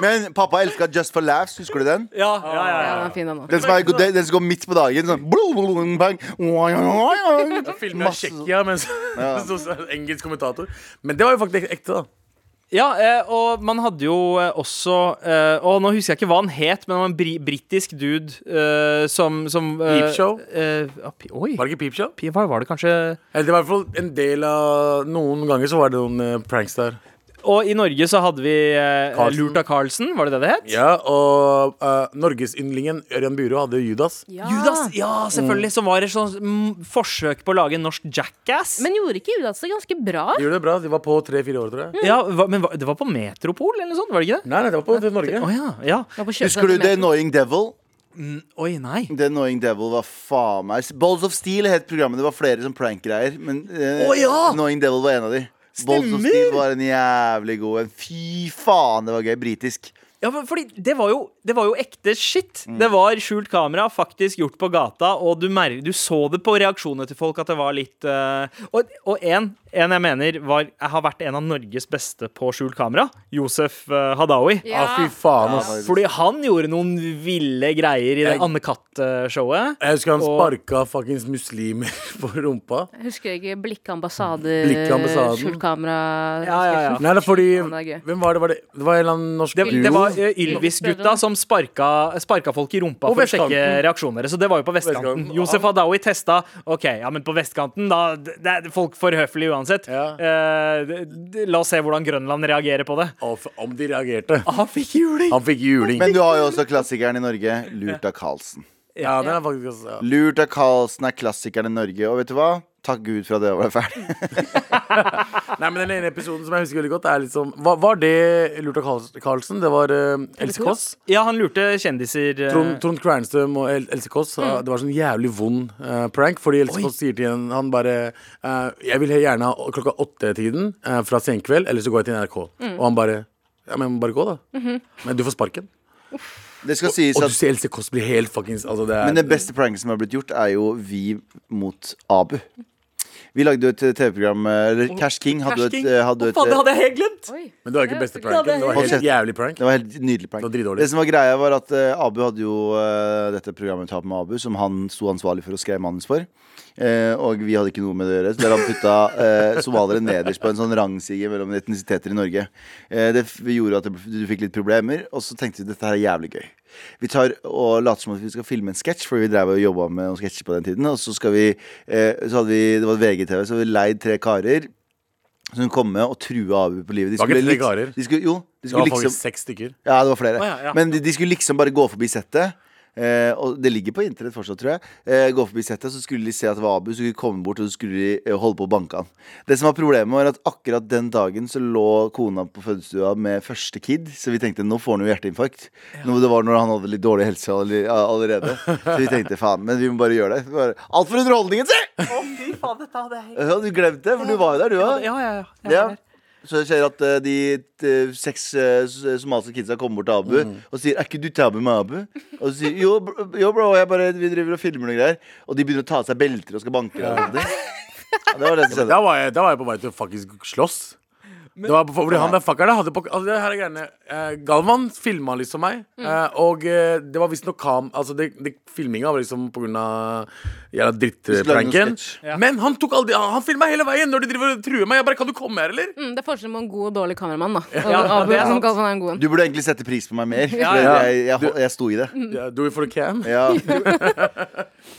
D: Men pappa elska Just for laughs. Husker du den?
G: Ja, ja, ja,
E: Ja, den er fin, den òg.
D: Den som, er, god- den som går midt på dagen. Sånn blum, blum, blum, bang. Oi, oi, oi, oi.
C: Filmer av Tsjekkia mens engelsk kommentator. Men det var jo faktisk ekte, da.
G: Ja, eh, og man hadde jo eh, også eh, Og nå husker jeg ikke hva han het, men han var en bri britisk dude eh, som, som eh,
C: Peep Show?
G: eh, ja, pi- oi.
C: Var det ikke Peepshow?
G: Pi- Hva var det kanskje
C: Eller det var i hvert fall en del av Noen ganger så var det noen eh, pranks der.
G: Og i Norge så hadde vi eh,
C: Carlsen.
G: Lurt av Carlsen, var det det det het?
C: Ja, og uh, norgesyndlingen Ørjan Buro hadde Judas.
G: Judas, ja, selvfølgelig. Som var et sånt mm, forsøk på å lage en norsk jackass.
E: Men gjorde ikke Judas det ganske bra?
C: De gjorde det bra. De var på tre-fire år, tror jeg.
G: ja, hva, men hva, det var på Metropol eller noe sånt, var det ikke det?
C: Nei, nei, det var på TV
G: Å
C: Norge.
G: ja, ja.
E: Jeg var på
D: Husker du The
E: kjøpesenteret.
D: Annoying Devil?
G: Oi, nei.
D: The Annoying Devil var faen meg Balls of Steel het programmet. Det var flere sånn prankgreier. Men eh,
G: Å, ja!
D: Annoying Devil var en av de. Balls of
G: Stemmer!
D: Steel var en jævlig god en. Fy faen, det var gøy. Britisk.
G: Ja, for- fordi det var jo, det var jo ekte shit. Det var skjult kamera, faktisk gjort på gata, og du, mer du så det på reaksjonene til folk at det var litt eh, Og, og en, en jeg mener var, jeg har vært en av Norges beste på skjult kamera, Josef eh, Hadaoui.
C: Ja, Ah, fy faen, ass.
G: Fordi han gjorde noen ville greier i det eh,
C: Jeg-
G: Anne-Katt-showet.
C: Jeg husker han
G: Og-
C: sparka fuckings muslimer på rumpa.
E: Husker jeg ikke Blikkambassader,
C: Blikkambassaden.
E: skjulkamera
G: Ja, ja, ja.
C: Nei, det er fordi
E: Faen, det er gøy.
C: Hvem var det? Var det, det var en eller annen norsk
G: Det,
C: duo.
G: det var eh, Ylvis-gutta som sparka, sparka folk i rumpa
C: Og
G: for å sjekke
C: vestkanten.
G: reaksjoner. Så det var jo på vestkanten.
C: Vestkanten.
G: Josef Hadaoui testa. Ok, ja, men på vestkanten, da det det er folk for høflige uansett.
C: Ja.
G: Eh, det- det- la oss se hvordan Grønland reagerer på det.
C: Å, f- Om de reagerte.
G: Han fikk juling!
C: Han fikk juling.
D: Men du har jo også klassikeren i Norge, Lurt av Carlsen.
C: ja, den er faktisk også, ja.
D: Lurt av Carlsen er klassikeren i Norge, og vet du hva? Takk Gud for at det var ferdig.
C: Nei, men Den ene episoden som jeg husker veldig godt, er liksom Hva, Var det Lurta Karls- Karlsen? Det var eh, Else Kåss?
G: Ja, han lurte kjendiser eh,
C: Trond, Trond Kvernstrøm og El Else Kåss eh,
G: Mm.
C: Det var sånn jævlig vond eh, prank Fordi Else Kåss sier til henne Han bare eh, Jeg vil gjerne ha klokka åtte tiden eh, Fra senkveld Eller så går jeg til NRK
G: Mm.
C: Og han bare Ja, men bare gå da
G: Mhm.
C: Men du får sparken
D: Det skal sies
C: Og du
D: at
C: ser Else Kåss blir helt fucking altså, det er,
D: Men den beste pranken som har blitt gjort, er jo vi mot Abu. Vi lagde jo et eh, TV-program eh, Eller Cash King hadde jo et, eh, hadde jo et
B: Faen, det
D: eh,
B: hadde jeg helt glemt!
E: Oi.
C: Men det var jo ikke beste pranken Det var
D: helt-
C: helt jævlig prank
D: Det var helt nydelig prank.
C: Det var dritdårlig.
D: Det som var greia, var at eh, Abu hadde jo eh, dette programmet Tap med Abu, som han sto ansvarlig for og skrev manus for. Eh, og vi hadde ikke noe med det å gjøre. Så der han putta eh, somaliere nederst på en sånn rangstige mellom etnisiteter i Norge. Eh, det f- gjorde at det, ble- du fikk litt problemer, og så tenkte vi dette her er jævlig gøy. Vi tar og later som at vi skal filme en sketsj, for vi drev og jobba med noen sketsjer på den tiden. Og så skal vi, eh, så hadde vi, det var VGTV, så hadde vi leid tre karer som kom med og trua Abu på livet. De
C: Var ikke
D: skulle
C: det tre
D: liks-
C: karer?
D: De skulle, jo, de
C: Det var
D: skulle
C: faktisk
D: liksom
C: seks stykker
D: ja, det var flere.
G: ja, ja.
D: Men de, de skulle liksom bare gå forbi settet. Eh, og Det ligger på internett fortsatt, tror jeg. Eh, gå forbi settet, Så skulle de se at det var Abu, så skulle de komme bort og så skulle de eh, holde på å banke han. Det som var Problemet var at akkurat den dagen så lå kona på fødestua med første kid. Så vi tenkte nå får han jo hjerteinfarkt. Nå, det var når han hadde litt dårlig helse alli- allerede. Så vi tenkte faen, men vi må bare gjøre det. Bare, Alt for underholdningen, si!
B: Å, fy faen, dette hadde jeg helt
D: Ja, du glemte det, for du var jo der, du òg.
B: Ja, ja, ja. Jeg
D: Ja.
B: var der.
D: Så jeg ser at eh, de eh, seks eh, s- somaliske kidsa kommer bort til Abu og sier 'Er ikke du tabu med Abu?' Og så sier jo, br- jo bro, jeg bare, vi driver og filmer noe greier. Og de begynner å ta av seg belter og skal banke deg. og sånt. Ja, det var det som skjedde.
C: Da var jeg, da var jeg på vei til å faktisk slåss. det var på, fordi han der fuckeren hadde på altså, det her er greiene. Eh, Galvan filma liksom meg,
G: Mm.
C: eh, og eh, det var visstnok kam... Altså, det, det, filminga var liksom på grunn av jævla
D: skulle lage noen
C: drittpranken.
D: sketsj.
C: Men han tok aldri Han, han filma hele veien når de driver og truer meg. Jeg bare Kan du komme her, eller?
E: Mm, det er forskjell på en god og dårlig kameramann, da.
G: Ja,
E: Abu
G: det er
E: som
G: sant.
E: Galvan er en god en.
D: Du burde egentlig sette pris på meg mer. For
C: ja. Mm.
D: Jeg, jeg, jeg, jeg sto i det.
C: Yeah, do it for the can.
D: Ja.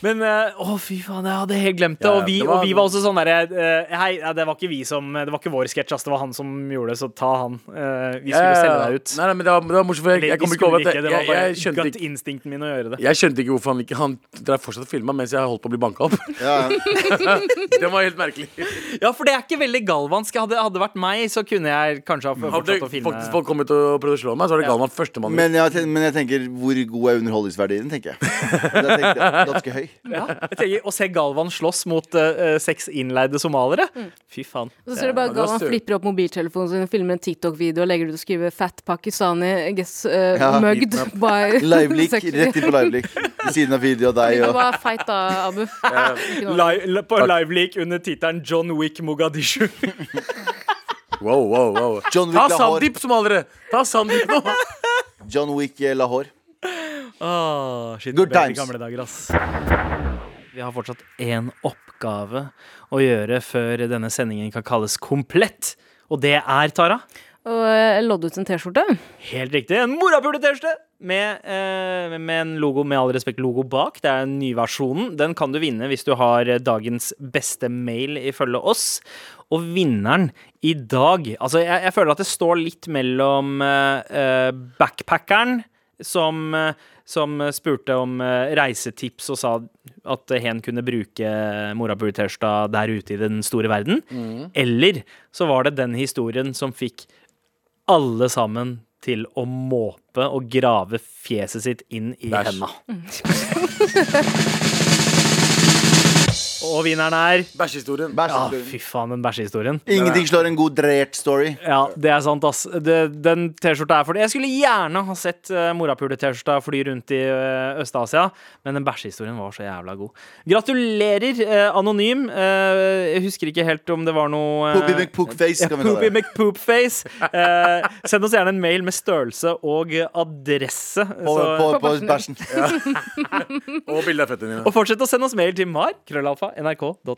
G: Men eh, å, fy faen, jeg hadde helt glemt det.
C: Ja,
G: og, vi,
C: det
G: var,
C: var-
G: og vi var også sånn derre eh, Hei, ja, det var ikke vi som Det var ikke vår sketsj, ass. Det var han som gjorde det, så ta han. Eh, vi skulle
C: Eh,
G: selge deg ut.
C: Nei, nei, men det var, det var morsomt, for jeg,
G: Eller,
C: jeg
G: vi
C: kom ikke over
G: skulle
C: at jeg,
G: det var
C: jeg,
G: bare
C: jeg, skjønte ikke,
G: gut-instinkten min å gjøre det.
C: jeg skjønte ikke hvorfor han ikke Han drev fortsatt og filma mens jeg holdt på å bli banka opp.
D: Ja, ja.
C: det var helt merkelig.
G: Ja, for det er ikke veldig galvansk. Hadde hadde det vært meg, så kunne jeg kanskje ha
C: Hadde
G: fortsatt å filme.
C: faktisk folk kommet og prøvd å slå meg, så var det Galvan førstemann.
D: Men, jeg, ten- men jeg tenker hvor god er underholdningsverdien, tenker jeg. Da tenkte jeg ganske høy.
G: Ja, jeg tenker, Å se Galvan slåss mot eh, eh, seks innleide somaliere Fy faen.
E: Så ser du bare
C: det var
E: Galvan
C: søt.
E: flipper opp mobiltelefonen sin, filmer en TikTok-video og legger ut og skriver 'Fat Pakistani gets uh,
D: Ja,
E: mugged
D: beaten up.
E: by
D: Liveblikk,
E: sexy-"
D: rett inn på liveblikk. Ved siden av video av deg
E: Det
D: og
E: var feit da, Abu. Ikke noe.
G: Li- li- på liveleak under tittelen 'John Wick Mogadishu'.
C: Wow, wow, wow.
D: John Wick
C: Ta
D: Lahore.
C: Sandeep, somaliere! Ta Sandeep nå!
D: John Wick eh, Lahore.
G: Ah, shit, det
D: Good
G: ble de
D: times.
G: Gamle dager, ass. Vi har fortsatt én oppgave å gjøre før denne sendingen kan kalles komplett. Og det er, Tara,
E: Og eh, lodde ut en T-skjorte.
G: helt riktig, en morapule-T-skjorte! Med, eh, med en logo, med all respekt, logo bak. Det er den nye versjonen. Den kan du vinne hvis du har eh, dagens beste mail ifølge oss. Og vinneren i dag Altså, jeg, jeg føler at det står litt mellom eh, eh, backpackeren som, eh, som spurte om eh, reisetips og sa at hen kunne bruke morapule-T-skjorta der ute i den store verden. Eller så var det den historien som fikk alle sammen til å måpe og grave fjeset sitt inn i
C: Bæsj.
G: henda. og vinneren er
C: Bæsjhistorien.
D: Bæsj.
G: Ja, fy faen, den bæsjehistorien.
D: Ingenting slår en god drert story.
G: Ja, det er sant, ass. Det, den T-skjorta er for det. Jeg skulle gjerne ha sett uh, morapule-T-skjorta fly rundt i eh, Øst-Asia, men den bæsjehistorien var så jævla god. Gratulerer, eh, anonym. Eh, jeg husker ikke helt om det var noe eh,
D: Poopy McPookface
G: ja,
D: kan vi kalle
G: Poopy
D: det.
G: McPoopface. Eh, send oss gjerne en mail med størrelse og adresse.
D: På,
G: så-
D: på, på bæsjen.
C: Og bilde av føttene dine.
G: og fortsett å sende oss mail til mar. Krøllalfa. nrk.no.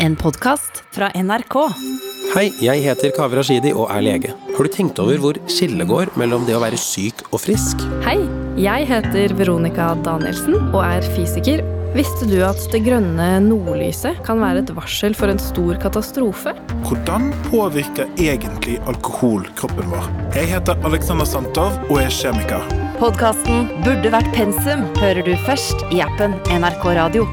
A: En podkast fra NRK.
J: Hei, jeg heter Kaveh Rashidi og er lege. Har du tenkt over hvor skillet går mellom det å være syk og frisk?
K: Hei, jeg heter Veronica Danielsen og er fysiker.
E: Visste du at det grønne nordlyset kan være et varsel for en stor katastrofe?
L: Hvordan påvirker egentlig alkohol kroppen vår? Jeg heter Alexander Santov og er kjemiker.
A: Podkasten Burde vært pensum hører du først i appen NRK Radio.